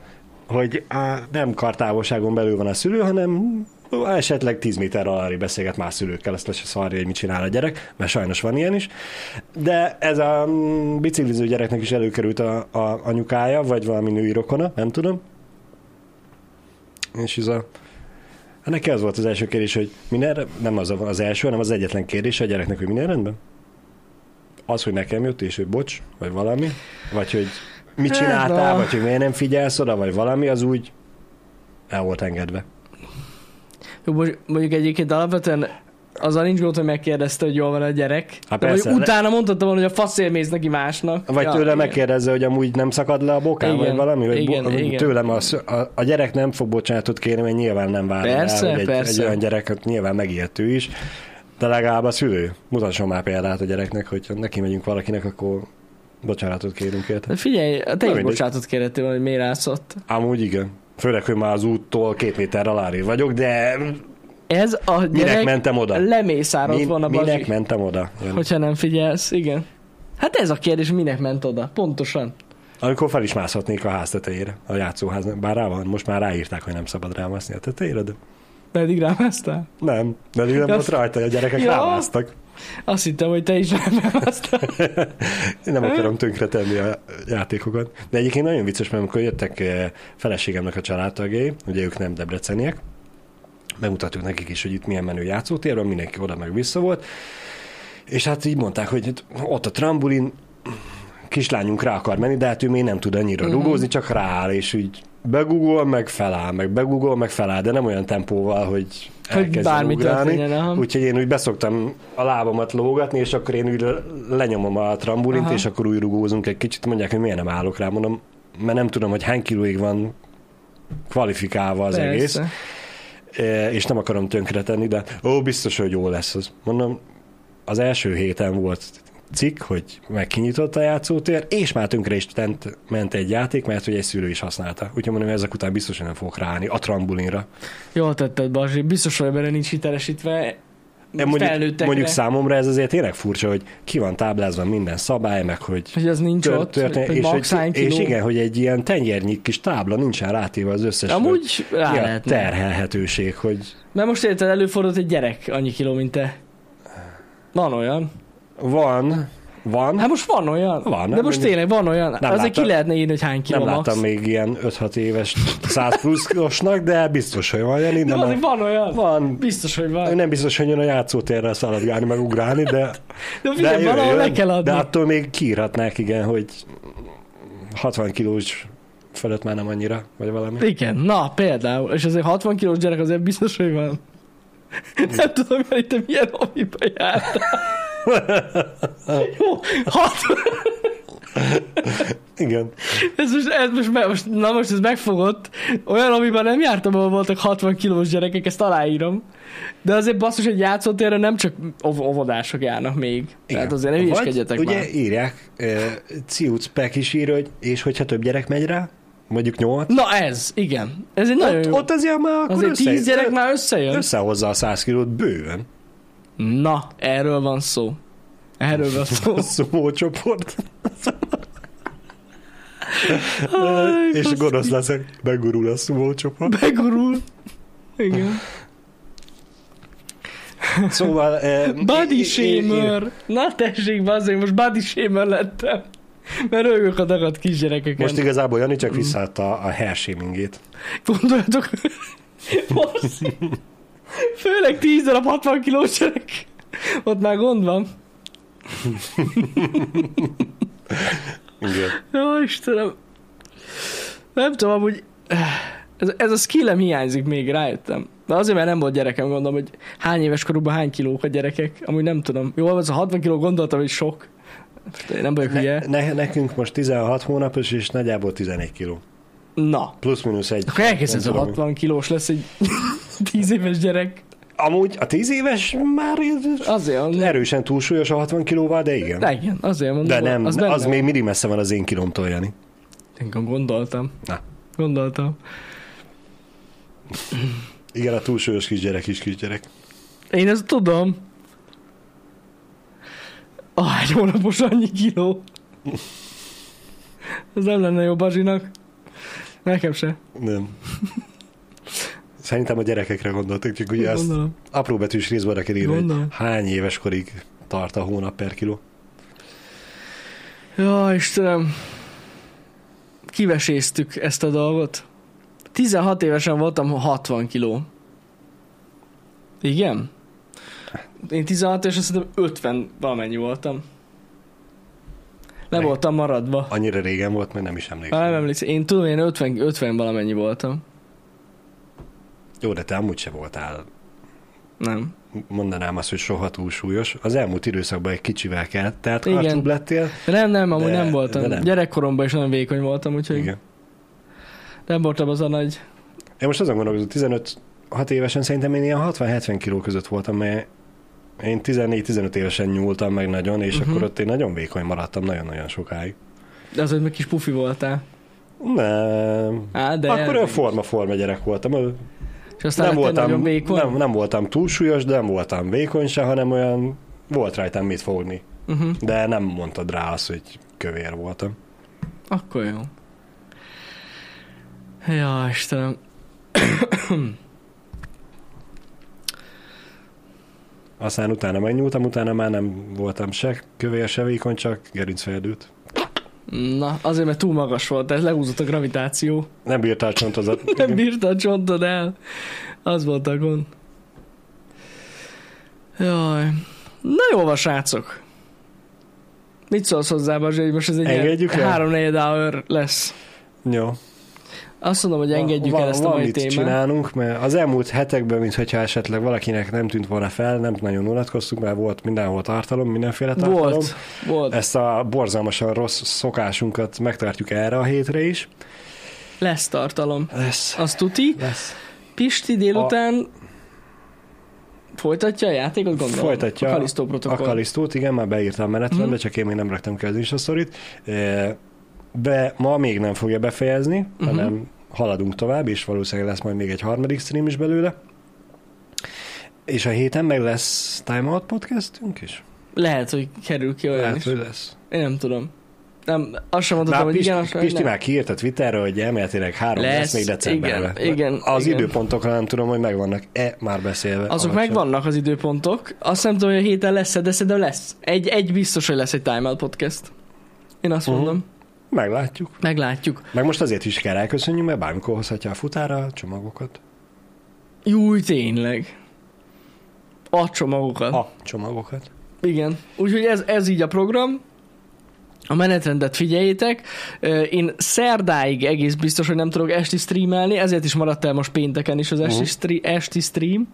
Speaker 2: hogy á, nem kartávolságon belül van a szülő, hanem esetleg 10 méter alá beszélget más szülőkkel, ezt le se szarja, hogy mit csinál a gyerek, mert sajnos van ilyen is. De ez a mm, bicikliző gyereknek is előkerült a, a anyukája, vagy valami női rokona, nem tudom. És ez a... Hát neki az volt az első kérdés, hogy minden, nem az a- az első, hanem az egyetlen kérdés a gyereknek, hogy minden rendben? Az, hogy nekem jött, és hogy bocs, vagy valami, vagy hogy mit
Speaker 1: Hát,
Speaker 2: csináltál,
Speaker 1: na.
Speaker 2: vagy hogy miért nem figyelsz oda, vagy valami, az úgy el volt engedve.
Speaker 1: Jó, mondjuk- mondjuk egyébként alapvetően azzal nincs gond, hogy megkérdezte, hogy jól van a gyerek.
Speaker 2: Hát
Speaker 1: De
Speaker 2: persze,
Speaker 1: mondjuk
Speaker 2: de-
Speaker 1: utána mondhatta volna, hogy a faszért mész neki másnak.
Speaker 2: Vagy ja, tőle
Speaker 1: igen.
Speaker 2: megkérdezze, hogy amúgy nem szakad le a bokám,
Speaker 1: Igen,
Speaker 2: vagy valami, vagy
Speaker 1: igen,
Speaker 2: bo-
Speaker 1: igen.
Speaker 2: tőlem a, sz- a, a gyerek nem fog bocsánatot kérni, mert nyilván nem várja
Speaker 1: Persze,
Speaker 2: el, hogy egy,
Speaker 1: persze.
Speaker 2: egy olyan gyerek, hát nyilván megijedtő is, de legalább a szülő. Mutasson már példát a gyereknek, hogyha neki megyünk valakinek, akkor bocsánatot kérünk érte.
Speaker 1: De figyelj, te is
Speaker 2: mindegy.
Speaker 1: bocsátot kérhettél volna, hogy miért állsz ott.
Speaker 2: Amúgy igen. Főleg, hogy már az úttól két méter alárébb vagyok, de
Speaker 1: Ez a
Speaker 2: minek
Speaker 1: gyerek
Speaker 2: mentem oda?
Speaker 1: lemészárolt
Speaker 2: Min-
Speaker 1: volna,
Speaker 2: minek
Speaker 1: Bazsi,
Speaker 2: mentem oda? Jön.
Speaker 1: hogyha nem figyelsz. Igen. Hát ez a kérdés, minek ment oda? Pontosan.
Speaker 2: Amikor fel is mászhatnék a ház tetejére, a játszóháznak. Bár rá van, most már ráírták, hogy nem szabad rámászni a tetejére, de
Speaker 1: Pedig rámásztál?
Speaker 2: Nem, de nem
Speaker 1: Ja.
Speaker 2: volt rajta, a gyerekek
Speaker 1: Ja.
Speaker 2: rámáztak.
Speaker 1: Azt hittem, hogy te is rámásztál.
Speaker 2: Én nem akarom tönkretenni a játékokat. De egyébként nagyon vicces, mert amikor jöttek eh, feleségemnek a családtagjai, ugye ők nem debreceniek, bemutattuk nekik is, hogy itt milyen menő játszótér van, mindenki oda meg vissza volt, és hát így mondták, hogy itt- ott a trambulin, kislányunk rá akar menni, de hát ő még nem tud annyira
Speaker 1: Mhm.
Speaker 2: rugózni, csak rááll, és így begugol, meg feláll, meg begugol, meg feláll, de nem olyan tempóval, hogy
Speaker 1: Hogy
Speaker 2: elkezdjen
Speaker 1: bármi
Speaker 2: ugrálni.
Speaker 1: történjen, aha.
Speaker 2: Úgyhogy én úgy beszoktam a lábamat lógatni, és akkor én úgy le- lenyomom a trambulint,
Speaker 1: Aha.
Speaker 2: és akkor úgy rugózunk egy kicsit, mondják, hogy miért nem állok rá, mondom, mert nem tudom, hogy hány kilóig van kvalifikálva az
Speaker 1: Persze.
Speaker 2: egész, e, és nem akarom tönkretenni, de ó, biztos, hogy jó lesz az. Mondom, az első héten volt cikk, hogy meg kinyitott a játszótér, és már tönkre is tent, ment egy játék, mert hogy egy szülő is használta. Úgyhogy mondom, ezek után biztos, hogy nem fogok ráállni a trambulinra.
Speaker 1: Jól tetted, Bazsi. Biztos, hogy ebben nincs hitelesítve.
Speaker 2: De mondjuk,
Speaker 1: felnőttekre,
Speaker 2: mondjuk számomra ez azért tényleg furcsa, hogy ki van táblázva minden szabály, meg hogy
Speaker 1: Hogy az nincs
Speaker 2: tör-
Speaker 1: ott,
Speaker 2: történet-
Speaker 1: hogy
Speaker 2: és,
Speaker 1: max hány
Speaker 2: hogy, és
Speaker 1: kiló.
Speaker 2: igen, hogy egy ilyen tenyérnyi kis tábla nincsen rátéve az összes
Speaker 1: Amúgy rá
Speaker 2: ja,
Speaker 1: lehetne.
Speaker 2: terhelhetőség, hogy
Speaker 1: Mert most érted, előfordult egy gyerek annyi kiló, mint te. Van olyan.
Speaker 2: van, van,
Speaker 1: Hát most van olyan.
Speaker 2: Van,
Speaker 1: De
Speaker 2: nem
Speaker 1: most
Speaker 2: mindegy.
Speaker 1: tényleg van olyan.
Speaker 2: Nem
Speaker 1: Nem Azért
Speaker 2: láttam.
Speaker 1: ki lehetne írni, hogy hány kiló
Speaker 2: nem
Speaker 1: max.
Speaker 2: láttam még ilyen 5-6 éves 100 pluszosnak, de biztos, hogy van ilyen,
Speaker 1: De
Speaker 2: innen
Speaker 1: azért
Speaker 2: a...
Speaker 1: van olyan.
Speaker 2: van.
Speaker 1: Biztos, hogy van.
Speaker 2: Nem biztos, hogy jön a játszótérre szaladgálni, meg ugrálni, de,
Speaker 1: De
Speaker 2: de
Speaker 1: figyelj, valahol le kell adni.
Speaker 2: De hát attól még kiírhatnák, igen, hogy 60 kilós fölött már nem annyira, vagy valami.
Speaker 1: Igen, na például. És azért 60 kilós gyerek azért biztos, hogy van. Nem tudom, hogy te milyen hobbiba jártál. Jó, hat,
Speaker 2: Igen.
Speaker 1: ez most, ez most, me- most, na most ez megfogott. Olyan, amiben nem jártam, ahol voltak 60 kilós gyerekek, ezt aláírom. De azért basszus, hogy játszótérre nem csak ov- óvodások járnak még. Igen. Tehát azért nem
Speaker 2: Vagy,
Speaker 1: hülyeskedjetek
Speaker 2: ugye
Speaker 1: már.
Speaker 2: írják, e, Ciuc Pek is ír, hogy és hogyha több gyerek megy rá, mondjuk nyolc,
Speaker 1: Na ez, igen. Ez egy nagyon
Speaker 2: ott,
Speaker 1: jó.
Speaker 2: ott azért már akkor
Speaker 1: azért
Speaker 2: össze,
Speaker 1: 10 gyerek már összejön.
Speaker 2: összehozza a 100 kilót bőven.
Speaker 1: Na, erről van szó. Erről van szó.
Speaker 2: A szumó csoport.
Speaker 1: Aj,
Speaker 2: és
Speaker 1: baszki.
Speaker 2: gonosz leszek, begurul a szumó csoport.
Speaker 1: Begurul. Igen.
Speaker 2: Szóval... E,
Speaker 1: Body
Speaker 2: én-
Speaker 1: shamer. Na tessék, bazdmeg, most body shamer lettem. Mert rögök a dagadt kisgyerekeken.
Speaker 2: Most igazából Jani csak visszaadta a hair shamingét.
Speaker 1: Gondoljatok, Basszus. főleg 10 darab 60 kilós gyerek. Ott már gond van.
Speaker 2: Igen.
Speaker 1: Jó, Istenem. Nem tudom, amúgy... Ez, ez a skillem hiányzik még, rájöttem. De azért, mert nem volt gyerekem, gondolom, hogy hány éves korukban hány kilók a gyerekek. Amúgy nem tudom. Jó, ez a 60 kiló gondoltam, hogy sok. Nem vagyok hülye.
Speaker 2: Ne, ne, nekünk most 16 hónapos és nagyjából 11 kiló.
Speaker 1: Na,
Speaker 2: Plusz-minusz egy.
Speaker 1: akkor elkezded a
Speaker 2: Nem tudom.
Speaker 1: 60 kilós lesz egy 10 éves gyerek.
Speaker 2: Amúgy a 10 éves már
Speaker 1: Azért mondom.
Speaker 2: erősen túlsúlyos a 60 kilóval, de igen.
Speaker 1: Na igen, azért mondom.
Speaker 2: De nem, az,
Speaker 1: benne
Speaker 2: az
Speaker 1: van.
Speaker 2: még mindig messze van az én kilomtól, Jani.
Speaker 1: Igen, Gondoltam.
Speaker 2: Na.
Speaker 1: Gondoltam.
Speaker 2: Igen, a túlsúlyos kisgyerek is kisgyerek.
Speaker 1: Én ezt tudom. Ahány hónapos annyi kiló. Ez nem lenne jó Bazsinak. Nekem se.
Speaker 2: Nem. Szerintem a gyerekekre gondoltak, csak ugye azt
Speaker 1: Gondolom.
Speaker 2: apró betűs részben rakod írni, hogy
Speaker 1: Gondolom.
Speaker 2: hány éves korig tart a hónap per kiló.
Speaker 1: Ja, Istenem. Kiveséztük ezt a dolgot. 16 évesen voltam 60 kiló. Igen? Én 16 évesen szerintem 50 valamennyi voltam. Le
Speaker 2: Ne.
Speaker 1: voltam maradva.
Speaker 2: Annyira régen volt, mert nem is emlékszem.
Speaker 1: Már nem emlékszem. Én tudom, én 50, 50 valamennyi voltam.
Speaker 2: Jó, de te amúgy se voltál.
Speaker 1: Nem.
Speaker 2: Mondanám azt, hogy soha túlsúlyos. Az elmúlt időszakban egy kicsivel kell, tehát
Speaker 1: Igen.
Speaker 2: karcsúbb lettél.
Speaker 1: Nem, nem, amúgy
Speaker 2: De-
Speaker 1: nem
Speaker 2: de
Speaker 1: voltam.
Speaker 2: nem.
Speaker 1: Nem. Gyerekkoromban is nagyon vékony voltam, úgyhogy Igen.
Speaker 2: Igen.
Speaker 1: nem voltam az a nagy.
Speaker 2: Én most azon gondolkozom, 15 6 évesen szerintem én ilyen 60-70 kiló között voltam, mert én 14-15 évesen nyúltam meg nagyon, és
Speaker 1: Mhm.
Speaker 2: uh-huh. akkor ott én nagyon vékony maradtam nagyon-nagyon sokáig.
Speaker 1: De az, hogy meg kis pufi voltál.
Speaker 2: Nem.
Speaker 1: Á, de
Speaker 2: De akkor olyan
Speaker 1: elég.
Speaker 2: forma-forma gyerek voltam. Ö,
Speaker 1: És aztán
Speaker 2: Nem
Speaker 1: lettél
Speaker 2: voltam,
Speaker 1: nagyon vékony.
Speaker 2: nem, nem voltam túlsúlyos, de nem voltam vékony se, hanem olyan volt rajtam mit fogni.
Speaker 1: Uh-huh.
Speaker 2: De nem mondtad rá azt, hogy kövér voltam.
Speaker 1: Akkor jó. Ja, Istenem.
Speaker 2: Aztán utána megnyúltam, utána már nem voltam se kövér, se vékony, csak gerincfeldült.
Speaker 1: Na, azért, mert túl magas volt, tehát lehúzott a gravitáció.
Speaker 2: Nem bírta a csontozat.
Speaker 1: Nem bírta a csontod el. Az volt a gond. Jaj. Na jó van, srácok. Mit szólsz hozzá, Bazsi, hogy most ez egy
Speaker 2: Engedjük el?
Speaker 1: három negyed hour lesz.
Speaker 2: Jó.
Speaker 1: Azt mondom, hogy engedjük
Speaker 2: van,
Speaker 1: el ezt
Speaker 2: van
Speaker 1: a mai
Speaker 2: mit
Speaker 1: témát.
Speaker 2: csinálnunk, mert az elmúlt hetekben, mintha esetleg valakinek nem tűnt volna fel, nem nagyon unatkoztunk, mert volt mindenhol tartalom, mindenféle tartalom.
Speaker 1: Volt, volt.
Speaker 2: Ezt a borzalmasan rossz szokásunkat megtartjuk erre a hétre is.
Speaker 1: Lesz tartalom.
Speaker 2: Lesz.
Speaker 1: Azt tuti.
Speaker 2: Lesz.
Speaker 1: Pisti délután folytatja a játékot, gondolom?
Speaker 2: Folytatja
Speaker 1: A Kalisztó
Speaker 2: A
Speaker 1: protokoll.
Speaker 2: Kalisztót, igen, már beírtam menetrendbe,
Speaker 1: Mhm.
Speaker 2: mm. csak én még nem raktam ki az Insta-sztorit. E, Be, ma még nem fogja befejezni,
Speaker 1: Mhm.
Speaker 2: hanem haladunk tovább, és valószínűleg lesz majd még egy harmadik stream is belőle. És a héten meg lesz Time Out podcastünk is?
Speaker 1: Lehet, hogy kerül ki olyan
Speaker 2: Lehet,
Speaker 1: is.
Speaker 2: hogy lesz.
Speaker 1: Én nem tudom. Nem, azt sem
Speaker 2: Na,
Speaker 1: mondhatom, hogy
Speaker 2: Pisti,
Speaker 1: igen, azt sem,
Speaker 2: Pisti
Speaker 1: nem.
Speaker 2: már kiírta Twitterről, hogy elméletileg három lesz,
Speaker 1: Lesz,
Speaker 2: még decemberben.
Speaker 1: igen, igen,
Speaker 2: az
Speaker 1: igen.
Speaker 2: időpontokra nem tudom, hogy megvannak-e már beszélve.
Speaker 1: Azok
Speaker 2: avagy sem.
Speaker 1: megvannak az időpontok. Azt nem tudom, hogy a héten lesz-e, de szerintem lesz. Egy, egy biztos, hogy lesz egy Time Out podcast. Én azt
Speaker 2: Mhm.
Speaker 1: mondom.
Speaker 2: Meglátjuk.
Speaker 1: Meglátjuk.
Speaker 2: Meg most azért is kell elköszönjünk, mert bármikor hozhatja a futára a csomagokat.
Speaker 1: Júj, tényleg. A csomagokat.
Speaker 2: A csomagokat.
Speaker 1: Igen. Úgyhogy ez, ez így a program. A menetrendet figyeljétek. Ö, Én szerdáig egész biztos, hogy nem tudok esti streamelni, ezért is maradt el most pénteken is az esti,
Speaker 2: Mhm.
Speaker 1: uh-huh. esti stream,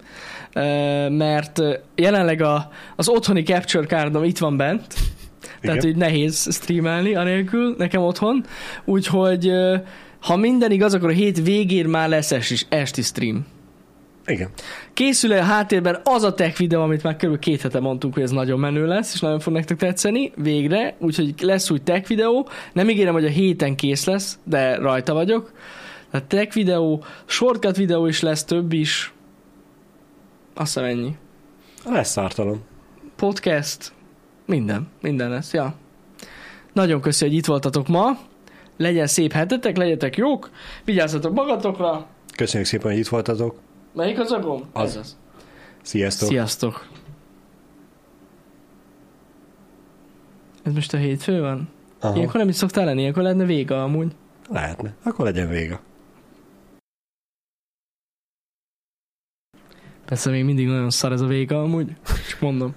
Speaker 1: Ö, mert ö, jelenleg a, az otthoni capture cardom itt van bent,
Speaker 2: Igen.
Speaker 1: tehát így nehéz streamelni anélkül, nekem otthon, úgyhogy ö, ha minden igaz, akkor a hét végén már lesz esti, esti stream.
Speaker 2: Igen.
Speaker 1: Készül el a háttérben az a tech videó, amit már kb. két hete mondtunk, hogy ez nagyon menő lesz, és nagyon fog nektek tetszeni, végre, úgyhogy lesz új tech videó, nem ígérem, hogy a héten kész lesz, de rajta vagyok. Tehát tech videó, shortcut videó is lesz, több is. Azt hiszem ennyi.
Speaker 2: Lesz tartalom.
Speaker 1: Podcast, minden, minden lesz, ja. Nagyon köszi, hogy itt voltatok ma. Legyen szép hetetek, legyetek jók, vigyázzatok magatokra.
Speaker 2: Köszönjük szépen, hogy itt voltatok.
Speaker 1: Melyik az a gomb?
Speaker 2: Az.
Speaker 1: Ez az.
Speaker 2: Sziasztok.
Speaker 1: Sziasztok! Ez most a hétfő van?
Speaker 2: Aha.
Speaker 1: Aha. Ilyenkor nem is szoktál lenni, ilyenkor lenne vége amúgy.
Speaker 2: Lehetne. Akkor legyen vége.
Speaker 1: Persze még mindig nagyon szar ez a vége amúgy, csak mondom.